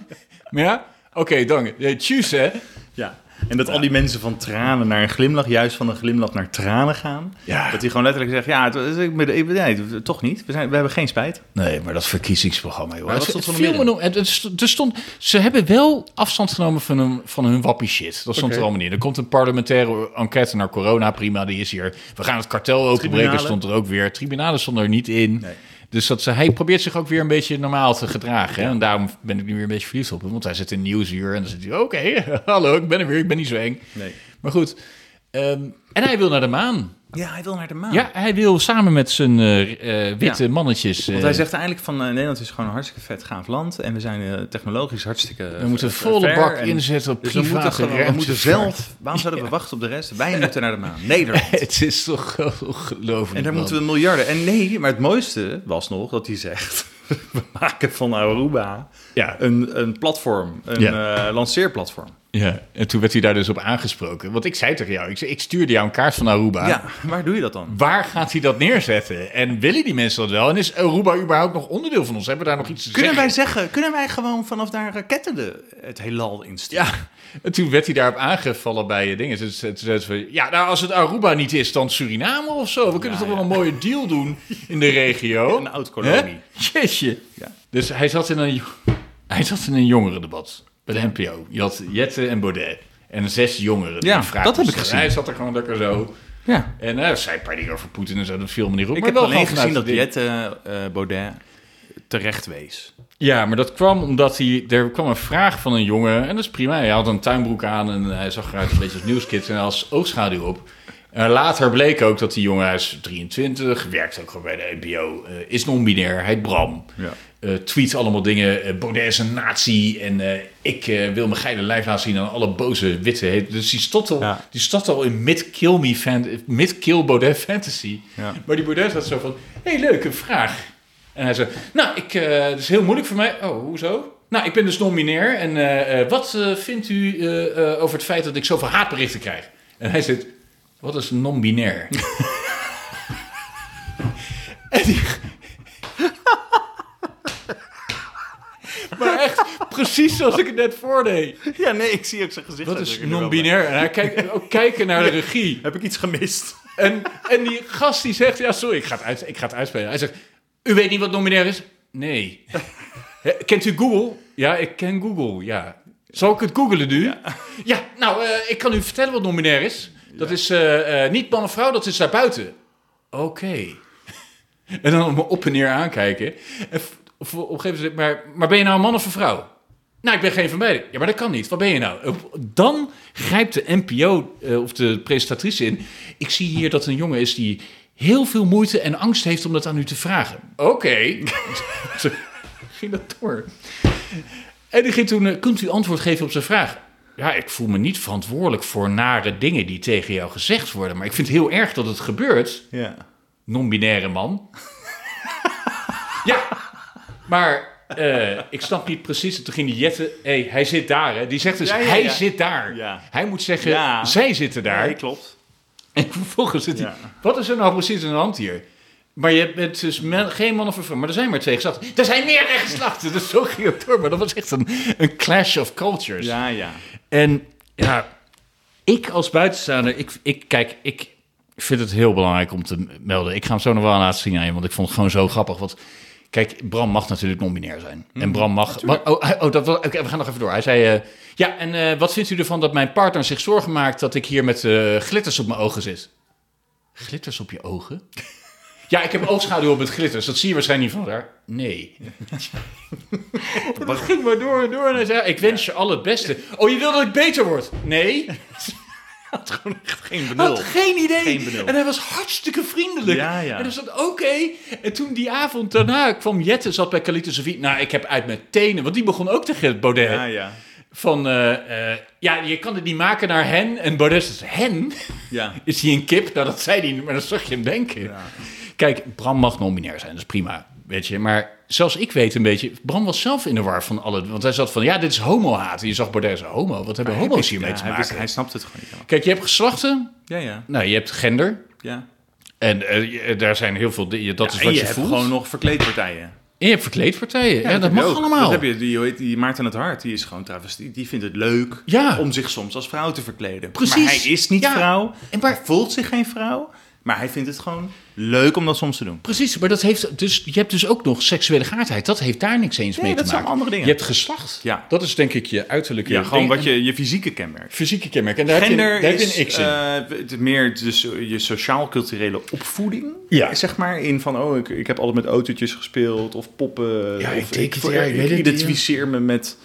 Speaker 2: Ja, oké, dank. Eh, Tjus, hè.
Speaker 1: Ja. En dat al die mensen van tranen naar een glimlach, juist van een glimlach naar tranen gaan.
Speaker 2: Ja.
Speaker 1: Dat die gewoon letterlijk zeggen, ja, het, was- ik ben- ik ben- nee, toch niet. We, zijn, we hebben geen spijt.
Speaker 2: Nee, maar dat verkiezingsprogramma, joh.
Speaker 1: Maar wat
Speaker 2: Het-
Speaker 1: stond
Speaker 2: het
Speaker 1: van de
Speaker 2: viel me nog- het- het st- er stond, ze hebben wel afstand genomen van hun, van hun wappie shit. Dat stond er allemaal in. Er komt een parlementaire enquête naar corona, prima, die is hier. We gaan het kartel openbreken,
Speaker 1: Tribunalen.
Speaker 2: stond er ook weer. Tribunalen stonden er niet in. Dus dat ze, hij probeert zich ook weer een beetje normaal te gedragen. Hè? En daarom ben ik nu weer een beetje verliefd op hem. Want hij zit in Nieuwsuur en dan zit hij... Oké, hallo, ik ben er weer. Ik ben niet zo eng.
Speaker 1: Nee.
Speaker 2: Maar goed. ehm, en hij wil naar de maan.
Speaker 1: Ja, hij wil naar de maan.
Speaker 2: Ja, hij wil samen met zijn eh, eh, witte
Speaker 1: Ja.
Speaker 2: mannetjes... eh,
Speaker 1: Want hij zegt eigenlijk van eh, Nederland is gewoon een hartstikke vet gaaf land. En we zijn eh, technologisch hartstikke. eh,
Speaker 2: We moeten volle bak inzetten op
Speaker 1: Dus we
Speaker 2: private
Speaker 1: moeten, gewoon, we moeten
Speaker 2: ruimtevaart.
Speaker 1: zelf. Waarom zouden we wachten op de rest? Wij moeten naar de maan. Nederland.
Speaker 2: Het is toch ongelooflijk.
Speaker 1: En daar
Speaker 2: man.
Speaker 1: moeten we miljarden. En nee, maar het mooiste was nog dat hij zegt. We maken van Aruba
Speaker 2: Ja.
Speaker 1: een, een platform, een
Speaker 2: Ja.
Speaker 1: eh, lanceerplatform.
Speaker 2: ja, en toen werd hij daar dus op aangesproken. Want ik zei tegen jou, ik, zei, ik stuurde jou een kaart van Aruba.
Speaker 1: Ja, waar doe je dat dan?
Speaker 2: Waar gaat hij dat neerzetten? En willen die mensen dat wel? En is Aruba überhaupt nog onderdeel van ons? Hebben we daar nog iets te
Speaker 1: Kunnen wij
Speaker 2: zeggen?
Speaker 1: zeggen, kunnen wij gewoon vanaf daar raketten de, het heelal insturen?
Speaker 2: Ja, en toen werd hij daarop aangevallen bij eh, dingen. Toen toen zeiden ze van, ja, nou als het Aruba niet is, dan Suriname of zo. We kunnen toch wel een mooie deal doen in de regio.
Speaker 1: Een oud-kolonie.
Speaker 2: Hè? Jeetje.
Speaker 1: Ja.
Speaker 2: Dus hij zat in een, jo- hij zat in een jongerendebat bij de NPO. Je had Jette en Baudet. En zes jongeren. die
Speaker 1: Ja,
Speaker 2: een vraag
Speaker 1: dat heb ik
Speaker 2: stelden.
Speaker 1: gezien.
Speaker 2: Hij zat er gewoon lekker zo.
Speaker 1: ja.
Speaker 2: En hij zei een paar dingen over Poetin en zo. Dat viel me niet op.
Speaker 1: Ik
Speaker 2: maar
Speaker 1: heb
Speaker 2: wel
Speaker 1: alleen
Speaker 2: gewoon vanuit
Speaker 1: gezien dat
Speaker 2: dit-
Speaker 1: Jette eh, Baudet terecht wees.
Speaker 2: Ja, maar dat kwam omdat hij... Er kwam een vraag van een jongen. En dat is prima. Hij had een tuinbroek aan en eh, hij zag eruit een beetje als nieuwskid. En hij had oogschaduw op. En later bleek ook dat die jongen, hij is 23, werkt ook gewoon bij de NPO, eh, is non-binair, hij heet Bram.
Speaker 1: Ja.
Speaker 2: Eh, tweet allemaal dingen, eh, Baudet is een nazi en eh, ik eh, wil mijn geile lijf laten zien aan alle boze witte. he- Dus die stond al,
Speaker 1: Ja.
Speaker 2: die stond al in mid-kill me fan, mid-kill Baudet fantasy.
Speaker 1: Ja.
Speaker 2: Maar die Baudet zat zo van, hey, leuke vraag. En hij zei, nou, ik, eh, het is heel moeilijk voor mij. Oh, hoezo? Nou, ik ben dus non-binair. En eh, eh, wat eh, vindt u eh, eh, over het feit dat ik zoveel haatberichten krijg? En hij zegt, wat is non-binair? en die... maar echt, precies zoals ik het net voordeed.
Speaker 1: Ja, nee, ik zie ook zijn gezicht.
Speaker 2: Wat is
Speaker 1: natuurlijk er wel
Speaker 2: non-binair? En hij kijkt ook kijken naar de regie.
Speaker 1: bij. Heb ik iets gemist?
Speaker 2: En, en die gast die zegt, ja sorry, ik ga, het uit, ik ga het uitspelen. Hij zegt, u weet niet wat nominair is? Nee. Hè, Kent u Google? Ja, ik ken Google, ja. Zal ik het googelen nu? Ja, nou, eh, ik kan u vertellen wat nominair is. Dat is eh, eh, niet man of vrouw, dat is daarbuiten. Oké. En dan me op en neer aankijken. En f- op, op een gegeven moment, zeg ik, maar, maar ben je nou een man of een vrouw? Nou, ik ben geen van beiden. Ja, maar dat kan niet. Wat ben je nou? Dan grijpt de NPO eh, of de presentatrice in. Ik zie hier dat een jongen is die heel veel moeite en angst heeft om dat aan u te vragen. Oké. Zo ging dat door. En die ging toen, eh, kunt u antwoord geven op zijn vraag? Ja, ik voel me niet verantwoordelijk voor nare dingen die tegen jou gezegd worden. Maar ik vind het heel erg dat het gebeurt
Speaker 1: Ja.
Speaker 2: non-binaire man. ja, maar eh, ik snap niet precies. En Toen ging die Jette, hey, hij zit daar. Hè. Die zegt dus,
Speaker 1: Ja, ja,
Speaker 2: hij
Speaker 1: ja.
Speaker 2: zit daar.
Speaker 1: Ja.
Speaker 2: Hij moet zeggen,
Speaker 1: Ja.
Speaker 2: zij zitten daar.
Speaker 1: Nee, klopt.
Speaker 2: En vervolgens zit hij,
Speaker 1: Ja.
Speaker 2: wat is er nou precies aan de hand hier? Maar je bent dus men- geen man of een vrouw, maar er zijn maar twee geslachten. Er zijn meerdere geslachten, dus zo ging het door. Maar dat was echt een, een clash of cultures.
Speaker 1: Ja, ja.
Speaker 2: En ja, ik als buitenstaander, ik, ik kijk, ik vind het heel belangrijk om te melden. Ik ga hem zo nog wel laten zien aan je, want ik vond het gewoon zo grappig. Want kijk, Bram mag natuurlijk non-binair zijn. En Bram mag... Wa- oh, hij- oh, dat was... Oké, we gaan nog even door. Hij zei... eh, ja, en eh, wat vindt u ervan dat mijn partner zich zorgen maakt dat ik hier met eh, glitters op mijn ogen zit? Glitters op je ogen? ja, ik heb oogschaduw op met glitters. Dat zie je waarschijnlijk niet van daar. Nee. Dat ging maar door en door. En hij zei, ik wens je al het beste. Oh, je wil dat ik beter word? Nee. had gewoon echt geen benul. Had geen idee.
Speaker 1: Geen benul.
Speaker 2: En hij was hartstikke vriendelijk.
Speaker 1: Ja, ja.
Speaker 2: En hij zat, oké. En toen die avond daarna kwam Jette, zat bij Kalita Sofie. Nou, ik heb uit mijn tenen, want die begon ook tegen Baudet.
Speaker 1: Ja, ja.
Speaker 2: Van, eh, eh, ja, je kan het niet maken naar hen. En Baudet zegt, hen?
Speaker 1: Ja.
Speaker 2: Is hij een kip? Nou, dat zei hij niet, maar dan zag je hem denken. Kijk, Bram mag nominair zijn, dat is prima, weet je. Maar zelfs ik weet een beetje... Bram was zelf in de war van alle... Want hij zat van, ja, dit is homo-haat. En je zag Baudet zijn homo. Wat hebben homo's hiermee
Speaker 1: Ja,
Speaker 2: te
Speaker 1: hij, wist-
Speaker 2: maken?
Speaker 1: hij snapt het gewoon niet helemaal.
Speaker 2: Kijk, je hebt geslachten.
Speaker 1: Ja, ja.
Speaker 2: Nou, je hebt gender.
Speaker 1: ja.
Speaker 2: En eh, je- daar zijn heel veel... dingen- Dat is
Speaker 1: en
Speaker 2: wat
Speaker 1: je,
Speaker 2: je,
Speaker 1: hebt
Speaker 2: voelt.
Speaker 1: gewoon nog verkleedpartijen.
Speaker 2: En je hebt verkleedpartijen. Ja, dat,
Speaker 1: heb je
Speaker 2: mag
Speaker 1: ook.
Speaker 2: allemaal.
Speaker 1: Dat heb je, die, hoe heet die Maarten het Hart, die is gewoon travestie. Die vindt het leuk
Speaker 2: Ja.
Speaker 1: om zich soms als vrouw te verkleden.
Speaker 2: Precies.
Speaker 1: Maar hij is niet
Speaker 2: Ja.
Speaker 1: vrouw,
Speaker 2: En maar-
Speaker 1: hij voelt zich geen vrouw, maar hij vindt het gewoon leuk om dat soms te doen.
Speaker 2: Precies, maar dat heeft dus, je hebt dus ook nog seksuele gaardheid. Dat heeft daar niks eens
Speaker 1: Nee,
Speaker 2: mee te
Speaker 1: dat
Speaker 2: maken.
Speaker 1: zijn andere dingen.
Speaker 2: Je hebt geslacht.
Speaker 1: Ja.
Speaker 2: Dat is denk ik je uiterlijke
Speaker 1: Ja, gewoon
Speaker 2: ding.
Speaker 1: wat je, je fysieke kenmerk.
Speaker 2: Fysieke kenmerk. En daar heb
Speaker 1: Gender
Speaker 2: je, daar heb je
Speaker 1: is
Speaker 2: een X in.
Speaker 1: eh, het meer dus je sociaal-culturele opvoeding.
Speaker 2: Ja.
Speaker 1: Zeg maar in van, oh, ik, ik heb altijd met autootjes gespeeld of poppen.
Speaker 2: Ja,
Speaker 1: of
Speaker 2: ik denk
Speaker 1: ik,
Speaker 2: het, ja, ik weet het niet,
Speaker 1: identificeer me met,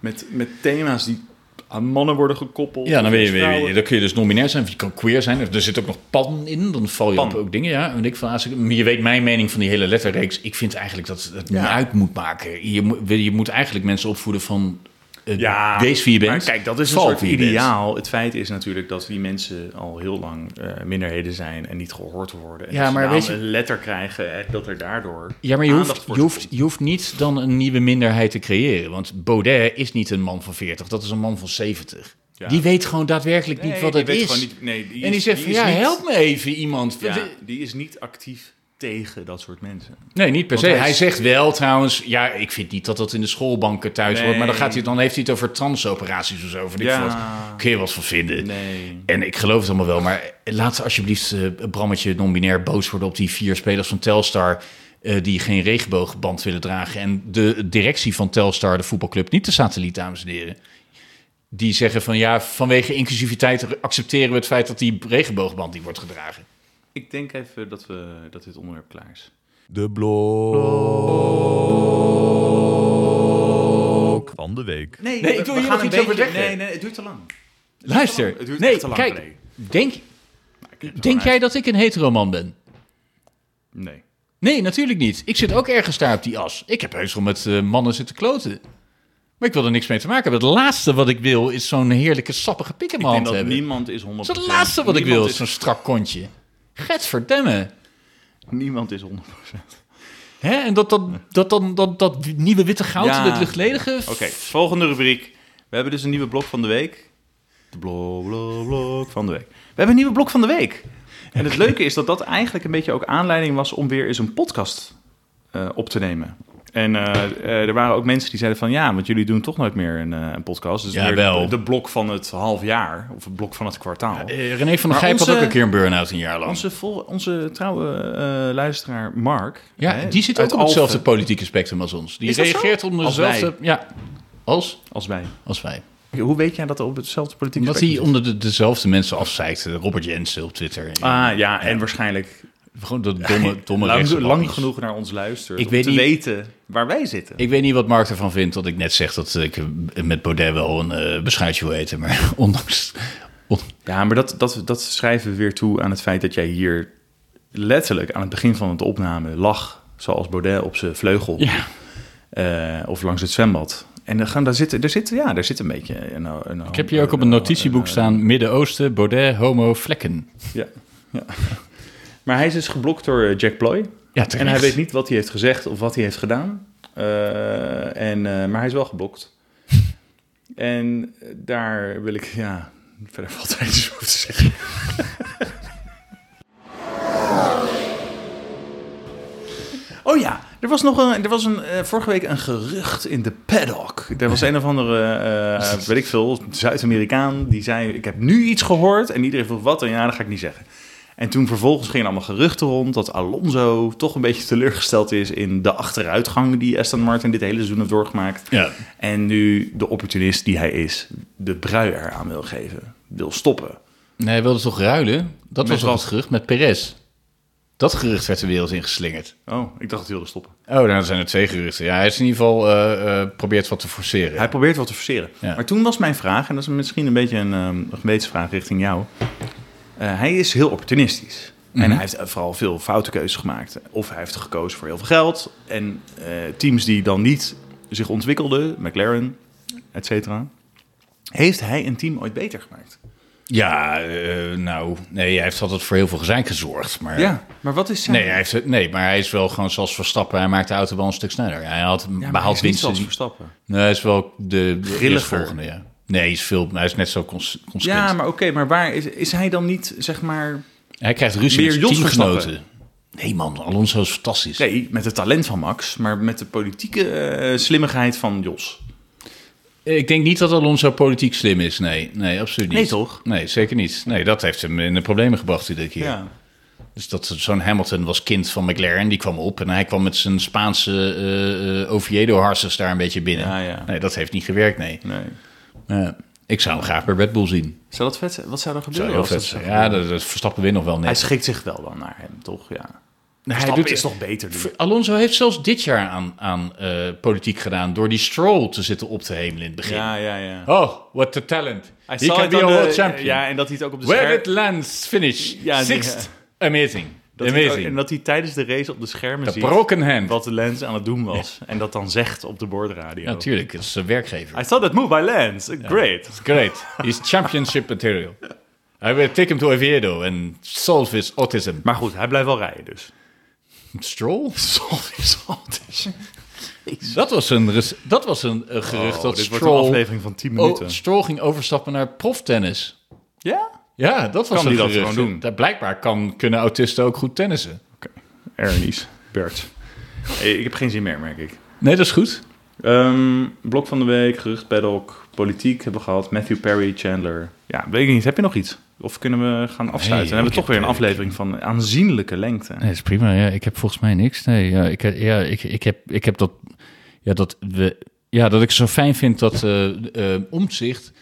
Speaker 1: met, met thema's die aan mannen worden gekoppeld.
Speaker 2: Ja,
Speaker 1: of
Speaker 2: dan, ben je,
Speaker 1: aan vrouwen.
Speaker 2: weer- dan kun je dus nominair zijn, of je kan queer zijn. Er zit ook nog pan in, dan val je
Speaker 1: Pan.
Speaker 2: op ook dingen. Ja. En ik van, als ik- maar je weet mijn mening van die hele letterreeks. Ik vind eigenlijk dat het niet uit moet maken. Je, moet- je moet eigenlijk mensen opvoeden van... eh,
Speaker 1: Ja,
Speaker 2: wees wie je
Speaker 1: Maar
Speaker 2: bent.
Speaker 1: kijk, dat is een
Speaker 2: val
Speaker 1: soort
Speaker 2: wie je bent.
Speaker 1: ideaal. Het feit is natuurlijk dat die mensen al heel lang eh, minderheden zijn en niet gehoord worden. En
Speaker 2: Ja,
Speaker 1: dat ze
Speaker 2: maar
Speaker 1: daarom
Speaker 2: weet je-
Speaker 1: een letter krijgen eh, dat er daardoor
Speaker 2: Ja, maar je hoeft,
Speaker 1: aandacht voor
Speaker 2: je,
Speaker 1: te
Speaker 2: hoeft,
Speaker 1: komt.
Speaker 2: je hoeft niet dan een nieuwe minderheid te creëren. Want Baudet is niet een man van 40, dat is een man van 70.
Speaker 1: Ja.
Speaker 2: Die weet gewoon daadwerkelijk niet
Speaker 1: Nee,
Speaker 2: wat
Speaker 1: die
Speaker 2: het
Speaker 1: weet
Speaker 2: is.
Speaker 1: gewoon niet- nee, die
Speaker 2: en die
Speaker 1: is-
Speaker 2: zegt
Speaker 1: die
Speaker 2: van,
Speaker 1: is
Speaker 2: ja,
Speaker 1: niet-
Speaker 2: help me even iemand.
Speaker 1: Ja, die is niet actief tegen dat soort mensen.
Speaker 2: Nee, niet per se.
Speaker 1: Want
Speaker 2: Hij,
Speaker 1: hij is-
Speaker 2: zegt wel trouwens, ja, ik vind niet dat dat in de schoolbanken thuis
Speaker 1: Nee.
Speaker 2: hoort. Maar dan, gaat hij, dan heeft hij het over transoperaties of zo. Van
Speaker 1: Ja.
Speaker 2: ik wat. Kun je wat van vinden.
Speaker 1: Nee.
Speaker 2: En ik geloof het allemaal wel. Maar laat ze alsjeblieft eh, Brammetje non-binair boos worden op die vier spelers van Telstar. eh, die geen regenboogband willen dragen. En de directie van Telstar, de voetbalclub, niet de satelliet, dames en heren. Die zeggen van ja, vanwege inclusiviteit accepteren we het feit dat die regenboogband die wordt gedragen.
Speaker 1: Ik denk even dat, we, dat dit onderwerp klaar is.
Speaker 4: De blok van de week.
Speaker 2: Nee, ik wil hier nog iets over zeggen.
Speaker 1: Nee, nee, het duurt te lang.
Speaker 2: Luister,
Speaker 1: Het duurt
Speaker 2: nee,
Speaker 1: echt te lang,
Speaker 2: kijk,
Speaker 1: René.
Speaker 2: denk, denk jij dat ik een hetero man ben?
Speaker 1: Nee.
Speaker 2: Nee, natuurlijk niet. Ik zit ook ergens daar op die as. Ik heb heus wel met eh, mannen zitten kloten. Maar ik wil er niks mee te maken hebben. Het laatste wat ik wil is zo'n heerlijke sappige pik in
Speaker 1: Ik
Speaker 2: mijn
Speaker 1: denk
Speaker 2: hand
Speaker 1: dat
Speaker 2: hebben.
Speaker 1: niemand is 100%.
Speaker 2: dat is het laatste wat ik
Speaker 1: niemand
Speaker 2: wil,
Speaker 1: is-
Speaker 2: zo'n strak kontje. Gadverdamme.
Speaker 1: niemand is 100%.
Speaker 2: Hè? En dat, dat, dat, dat, dat, dat nieuwe witte goud,
Speaker 1: Ja.
Speaker 2: dat luchtledige...
Speaker 1: Oké, volgende rubriek. We hebben dus een nieuwe blok van de week. De blok, blok, blok van de week. We hebben een nieuwe blok van de week. En het leuke is dat dat eigenlijk een beetje ook aanleiding was om weer eens een podcast eh, op te nemen. En eh, eh, er waren ook mensen die zeiden van ja, want jullie doen toch nooit meer een, eh, een podcast. Dus
Speaker 2: Ja,
Speaker 1: weer
Speaker 2: wel.
Speaker 1: de blok van het half jaar of het blok van het kwartaal.
Speaker 2: Eh, René van der
Speaker 1: Maar
Speaker 2: Gijp had
Speaker 1: onze-
Speaker 2: ook een keer een burn-out een jaar lang.
Speaker 1: Onze, vol, onze trouwe eh, luisteraar Mark.
Speaker 2: ja,
Speaker 1: hè,
Speaker 2: die zit ook
Speaker 1: uit
Speaker 2: op hetzelfde
Speaker 1: Alphen
Speaker 2: politieke spectrum als ons. Die
Speaker 1: Is dat zo?
Speaker 2: reageert onder
Speaker 1: Als
Speaker 2: dezelfde... Ja, als,
Speaker 1: als wij.
Speaker 2: als wij.
Speaker 1: Hoe weet jij dat er op hetzelfde politieke
Speaker 2: Omdat hij
Speaker 1: spectrum
Speaker 2: onder de, dezelfde mensen afzeikt. Robert eh, Jensen op Twitter.
Speaker 1: zit? Ah ja, Ah, en waarschijnlijk
Speaker 2: Gewoon dat domme, domme
Speaker 1: lang,
Speaker 2: rechtse
Speaker 1: lang
Speaker 2: bakkies.
Speaker 1: genoeg naar ons luistert
Speaker 2: Ik
Speaker 1: om
Speaker 2: weet
Speaker 1: te
Speaker 2: niet-
Speaker 1: weten waar wij zitten.
Speaker 2: Ik weet niet wat Mark ervan vindt dat ik net zeg dat eh, ik met Baudet wel een eh, beschuitje wil eten. Maar ondanks... on-
Speaker 1: Ja, maar dat, dat, dat schrijven we weer toe aan het feit dat jij hier letterlijk aan het begin van de opname lag, zoals Baudet op zijn vleugel eh, of langs het zwembad. En dan gaan daar zitten, daar zitten, ja, daar zit een beetje. Een, een, eh,
Speaker 2: Ik heb hier ook op een notitieboek staan, Midden-Oosten, Baudet, homo, vlekken.
Speaker 1: Ja, ja. Maar hij is dus geblokt door eh, Jack Ploy.
Speaker 2: Ja,
Speaker 1: en hij weet niet wat hij heeft gezegd of wat hij heeft gedaan. Eh, en, eh, maar hij is wel geblokt. En daar wil ik, ja, verder valt er iets over te zeggen. Oh ja, er was nog een, er was een, eh, vorige week een gerucht in de paddock. Er was een of andere, eh, weet ik veel, Zuid-Amerikaan die zei: Ik heb nu iets gehoord. En iedereen vroeg wat. En ja, dat ga ik niet zeggen. En toen vervolgens gingen allemaal geruchten rond dat Alonso toch een beetje teleurgesteld is in de achteruitgang die Aston Martin dit hele seizoen heeft doorgemaakt.
Speaker 2: Ja.
Speaker 1: En nu de opportunist die hij is, de brui eraan wil geven, wil stoppen.
Speaker 2: Nee, hij wilde toch ruilen? Dat was toch
Speaker 1: wat?
Speaker 2: het gerucht met Perez. Dat gerucht werd de wereld ingeslingerd.
Speaker 1: Oh, ik dacht dat hij wilde stoppen.
Speaker 2: Oh, dan zijn er twee geruchten. Ja, hij is in ieder geval eh, eh, probeert wat te forceren.
Speaker 1: Hij probeert wat te forceren.
Speaker 2: Ja.
Speaker 1: Maar toen was mijn vraag, en dat is misschien een beetje een, ehm, een gewetensvraag richting jou. Eh, hij is heel opportunistisch.
Speaker 2: Mhm.
Speaker 1: En hij heeft eh, vooral veel foute keuzes gemaakt. Of hij heeft gekozen voor heel veel geld. En eh, teams die dan niet zich ontwikkelden, McLaren, et cetera. Heeft hij een team ooit beter gemaakt?
Speaker 2: Ja, eh, nou, nee, hij heeft altijd voor heel veel gezeik gezorgd. Maar...
Speaker 1: Ja, maar wat is zijn...
Speaker 2: Nee, hij heeft, het- nee, maar hij is wel gewoon zoals Verstappen. Hij maakt de auto wel een stuk sneller. Hij had
Speaker 1: ja, maar hij
Speaker 2: behaalt
Speaker 1: is niet
Speaker 2: winsten.
Speaker 1: zoals
Speaker 2: die-
Speaker 1: Verstappen.
Speaker 2: Nee, hij is wel de, de
Speaker 1: Grilliger.
Speaker 2: volgende, ja. Nee, hij is, veel, hij is net zo cons consequent.
Speaker 1: Ja, maar oké, maar waar is, is hij dan niet, zeg maar...
Speaker 2: Hij krijgt ruzie
Speaker 1: Meer
Speaker 2: met zijn
Speaker 1: Jos Verstappen.
Speaker 2: teamgenoten. Nee man, Alonso is fantastisch.
Speaker 1: Nee, met het talent van Max, maar met de politieke eh, slimmigheid van Jos.
Speaker 2: Ik denk niet dat Alonso politiek slim is. Nee, nee absoluut niet.
Speaker 1: Nee, toch?
Speaker 2: Nee, zeker niet. Nee, dat heeft hem in de problemen gebracht iedere keer.
Speaker 1: Ja.
Speaker 2: Dus dat zo'n Hamilton was kind van McLaren, die kwam op en hij kwam met zijn Spaanse eh, eh, Oviedo-harsers daar een beetje binnen.
Speaker 1: Ja, ja.
Speaker 2: Nee, dat heeft niet gewerkt, nee.
Speaker 1: Nee.
Speaker 2: Ja. ik zou hem graag bij Red Bull zien.
Speaker 1: Zou dat vet zijn? Wat zou er
Speaker 2: Zou
Speaker 1: gebeuren? als
Speaker 2: heel vet
Speaker 1: dat
Speaker 2: zijn.
Speaker 1: zou
Speaker 2: Ja,
Speaker 1: gebeuren?
Speaker 2: dat, dat verstappen we nog wel
Speaker 1: Hij
Speaker 2: net.
Speaker 1: schikt zich wel dan naar hem, toch? Ja.
Speaker 2: Hij
Speaker 1: Verstappen
Speaker 2: doet-
Speaker 1: is toch beter nu?
Speaker 2: Alonso heeft zelfs dit jaar aan, aan eh, politiek gedaan door die stroll te zitten op te hemelen in het begin.
Speaker 1: Ja, ja, ja.
Speaker 2: Oh, what a talent.
Speaker 1: Hij
Speaker 2: He
Speaker 1: zal
Speaker 2: can
Speaker 1: het
Speaker 2: be a
Speaker 1: aan de-
Speaker 2: world champion.
Speaker 1: Ja, en dat hij het ook op de
Speaker 2: Where
Speaker 1: scherm...
Speaker 2: it lands, finish.
Speaker 1: Ja, die-
Speaker 2: Sixth. Amazing.
Speaker 1: dat hij het ook-
Speaker 2: Amazing.
Speaker 1: en dat hij tijdens de race op de schermen
Speaker 2: A
Speaker 1: ziet
Speaker 2: broken hand.
Speaker 1: wat de lens aan het doen was. En dat dan zegt op de boordradio.
Speaker 2: Natuurlijk, dat is zijn werkgever.
Speaker 1: I saw that move by Lens. Great.
Speaker 2: It's great. He's championship material. I will take him to Oviedo and solve his autism.
Speaker 1: Maar goed, hij blijft wel rijden dus.
Speaker 2: Stroll? Dat was een, res- dat was een eh, gerucht
Speaker 1: Oh,
Speaker 2: dat
Speaker 1: dit wordt een
Speaker 2: Stroll...
Speaker 1: aflevering van 10
Speaker 2: Oh,
Speaker 1: minuten.
Speaker 2: Stroll ging overstappen naar proftennis.
Speaker 1: Ja?
Speaker 2: Ja, dat was
Speaker 1: Kan
Speaker 2: een
Speaker 1: die dat
Speaker 2: gerucht.
Speaker 1: gewoon doen?
Speaker 2: Dat blijkbaar kan, kunnen autisten ook goed tennissen.
Speaker 1: Ernies. Bert. Hey, ik heb geen zin meer, merk ik.
Speaker 2: Nee, dat is goed.
Speaker 1: Ehm, blok van de week, gerucht, paddock, politiek hebben we gehad. Matthew Perry, Chandler. Ja, weet ik niet. Heb je nog iets? Of kunnen we gaan afsluiten? Dan
Speaker 2: Nee,
Speaker 1: hebben
Speaker 2: ik
Speaker 1: we toch
Speaker 2: heb,
Speaker 1: weer een
Speaker 2: eh,
Speaker 1: aflevering van aanzienlijke lengte.
Speaker 2: Nee, dat is prima. Ja, ik heb volgens mij niks. Nee, ja, ik, ja, ik, ik, heb, ik heb dat... Ja, dat we... Ja, dat ik zo fijn vind dat eh Omzicht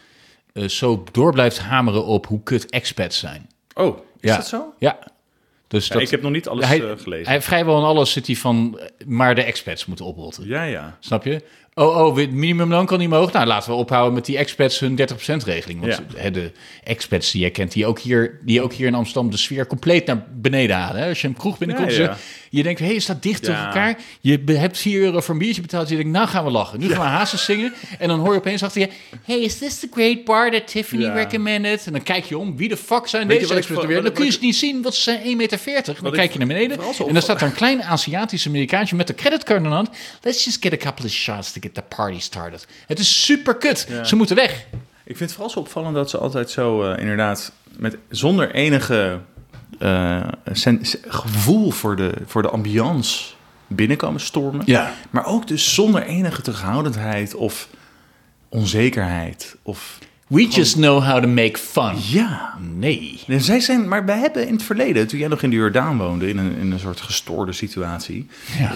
Speaker 2: eh, zo door blijft hameren op hoe kut expats zijn.
Speaker 1: Oh, is
Speaker 2: Ja.
Speaker 1: dat zo?
Speaker 2: Ja. Dus
Speaker 1: Ja,
Speaker 2: dat,
Speaker 1: ik heb nog niet alles
Speaker 2: hij,
Speaker 1: eh, gelezen.
Speaker 2: hij vrijwel in alles zit hij van, eh, maar de expats moeten oprotten.
Speaker 1: ja, ja.
Speaker 2: Snap je? Oh, oh, het minimumloon kan niet omhoog. Nou, laten we ophouden met die expats hun 30% regeling. Want
Speaker 1: Ja.
Speaker 2: hè, de expats die jij kent, die ook, hier, die ook hier in Amsterdam de sfeer compleet naar beneden halen. hè. Als je een kroeg binnenkomt,
Speaker 1: Ja,
Speaker 2: ze-
Speaker 1: ja.
Speaker 2: je denkt, hé, hey, is dat dicht
Speaker 1: Ja.
Speaker 2: tegen elkaar? Je be- hebt 4 euro voor een biertje betaald. Je denkt, nou gaan we lachen. Nu gaan we hazes zingen. En dan hoor je opeens achter je, hey, is this the great bar that Tiffany
Speaker 1: Ja.
Speaker 2: recommended? En dan kijk je om, wie de fuck zijn
Speaker 1: Weet je
Speaker 2: deze
Speaker 1: wat ik
Speaker 2: expats
Speaker 1: voor-
Speaker 2: weer?
Speaker 1: wat
Speaker 2: Dan
Speaker 1: ik-
Speaker 2: kun je ze niet zien, want ze zijn 1,40 meter. Dan
Speaker 1: ik
Speaker 2: kijk je naar beneden
Speaker 1: vooral zo
Speaker 2: en dan
Speaker 1: opvalt-
Speaker 2: staat er een klein Aziatisch Amerikaantje met de creditcard in de hand. Let's just get a couple of shots to get the party started. Het is super kut. Ze moeten weg.
Speaker 1: Ik vind het vooral zo opvallend dat ze altijd zo eh, inderdaad... Met, zonder enige eh, sen- se- gevoel voor de, voor de ambiance binnenkomen stormen.
Speaker 2: Ja.
Speaker 1: Maar ook dus zonder enige terughoudendheid of onzekerheid. Of
Speaker 2: We just know how to make fun.
Speaker 1: ja...
Speaker 2: Nee.
Speaker 1: Nee, zij zijn, maar wij hebben in het verleden, toen jij nog in de Jordaan woonde, in een, in een soort gestoorde situatie,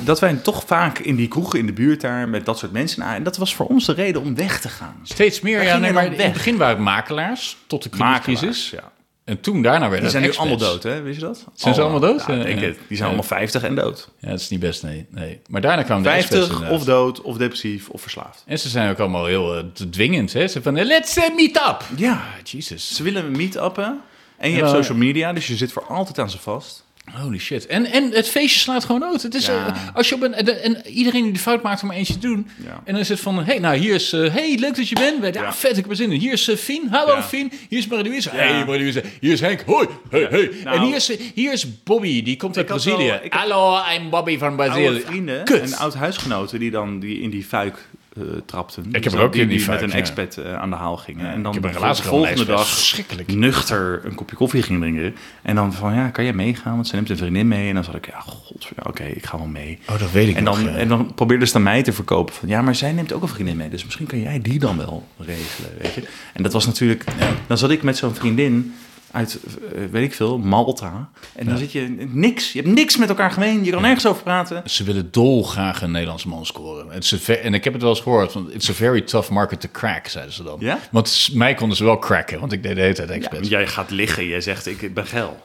Speaker 1: dat wij toch vaak in die kroegen in de buurt daar met dat soort mensen. aan- En dat was voor ons de reden om weg te gaan.
Speaker 2: Steeds meer.
Speaker 1: Waar
Speaker 2: Ja,
Speaker 1: gingen
Speaker 2: nee,
Speaker 1: dan
Speaker 2: maar in
Speaker 1: weg?
Speaker 2: het begin waren het makelaars tot de kredietcrisis.
Speaker 1: ja.
Speaker 2: En toen daarna werden
Speaker 1: Die zijn
Speaker 2: het
Speaker 1: nu allemaal
Speaker 2: expats.
Speaker 1: dood, hè? Wist je dat?
Speaker 2: Zijn ze allemaal dood?
Speaker 1: Ja,
Speaker 2: Ja,
Speaker 1: ik denk
Speaker 2: ja.
Speaker 1: het. Die zijn allemaal 50 en dood.
Speaker 2: Ja, dat is niet best, nee. nee. Maar daarna kwamen de expats
Speaker 1: 50
Speaker 2: inderdaad.
Speaker 1: of dood, of depressief, of verslaafd.
Speaker 2: En ze zijn ook allemaal heel eh, dwingend, hè? Ze van, eh, let's eh, meet up!
Speaker 1: Ja,
Speaker 2: Jesus.
Speaker 1: ze willen meet-uppen. En je
Speaker 2: Ja.
Speaker 1: hebt social media, dus je zit voor altijd aan ze vast.
Speaker 2: Holy shit. En, en het feestje slaat gewoon dood. Het is,
Speaker 1: Ja.
Speaker 2: eh, als je op een, de- en iedereen die de fout maakt om er eentje te doen.
Speaker 1: Ja.
Speaker 2: En dan is het van, hey, nou hier is, eh, hey, leuk dat je bent. Wij, ja,
Speaker 1: Ja.
Speaker 2: vet, ik heb er zin in. Hier is eh, Fien. Hallo
Speaker 1: Ja.
Speaker 2: Fien. Hier is Marie-Louise.
Speaker 1: Ja.
Speaker 2: Hey Marie-Louise. Hier is Henk. Hoi. Hey, hey.
Speaker 1: Nou.
Speaker 2: en hier is, eh, hier is Bobby. Die komt uit
Speaker 1: had
Speaker 2: Brazilië.
Speaker 1: wel- ik had-
Speaker 2: Hallo, I'm Bobby van
Speaker 1: Oude
Speaker 2: Brazilië.
Speaker 1: vrienden
Speaker 2: Kut.
Speaker 1: en oud-huisgenoten die dan die in die fuik eh, trapten.
Speaker 2: heb
Speaker 1: Dus
Speaker 2: er
Speaker 1: dat
Speaker 2: ook
Speaker 1: die,
Speaker 2: in die
Speaker 1: die
Speaker 2: fuik,
Speaker 1: met
Speaker 2: ja.
Speaker 1: een expat eh, aan de haal gingen. en dan
Speaker 2: ik heb een
Speaker 1: de
Speaker 2: relatie gehad met
Speaker 1: volgende
Speaker 2: een expat.
Speaker 1: dag
Speaker 2: Verschrikkelijk.
Speaker 1: nuchter een kopje koffie ging drinken. En dan van, ja, kan jij meegaan? Want ze neemt een vriendin mee. En dan zat ik, ja, god, oké, ik ga wel mee.
Speaker 2: Oh, dat weet ik
Speaker 1: En
Speaker 2: nog,
Speaker 1: dan,
Speaker 2: ja.
Speaker 1: en dan probeerde ze dan mij te verkopen van ja, maar zij neemt ook een vriendin mee, dus misschien kan jij die dan wel regelen, weet je. En dat was natuurlijk, dan zat ik met zo'n vriendin uit, eh, weet ik veel, Malta. En dan zit je niks, je hebt niks met elkaar gemeen, je kan nergens over praten.
Speaker 2: Ze willen dolgraag een Nederlands man scoren. It's a ve- en ik heb het wel eens gehoord. Want it's a very tough market to crack, zeiden ze dan.
Speaker 1: Ja?
Speaker 2: Want s- mij konden ze wel cracken, want ik deed de hele tijd
Speaker 1: Ja,
Speaker 2: expats.
Speaker 1: want jij gaat liggen, jij zegt ik ben geil.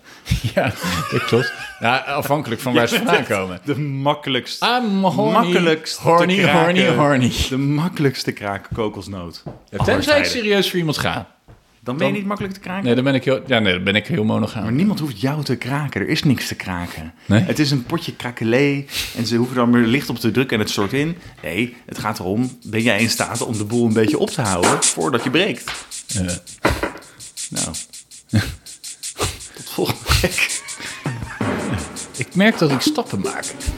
Speaker 2: Ja, dat klopt. Ja, afhankelijk van waar ze vandaan komen.
Speaker 1: De makkelijkst,
Speaker 2: I'm horny,
Speaker 1: makkelijkst te
Speaker 2: horny, horny,
Speaker 1: kraken-
Speaker 2: horny.
Speaker 1: De makkelijkste kraken kokosnoot. Aller
Speaker 2: Tenzij ik
Speaker 1: tijden.
Speaker 2: serieus voor iemand ga.
Speaker 1: Dan ben je niet makkelijk te kraken.
Speaker 2: Nee, dan ben ik heel, ja, nee, dan ben ik heel monogaam.
Speaker 1: Maar niemand hoeft jou te kraken. Er is niks te kraken.
Speaker 2: Nee?
Speaker 1: Het is een potje krakelé. En ze hoeven daar maar licht op te drukken en het soort in. Nee, het gaat erom, ben jij in staat om de boel een beetje op te houden voordat je breekt?
Speaker 2: Ja.
Speaker 1: Nou. Tot volgende week.
Speaker 2: ik merk dat ik stappen maak.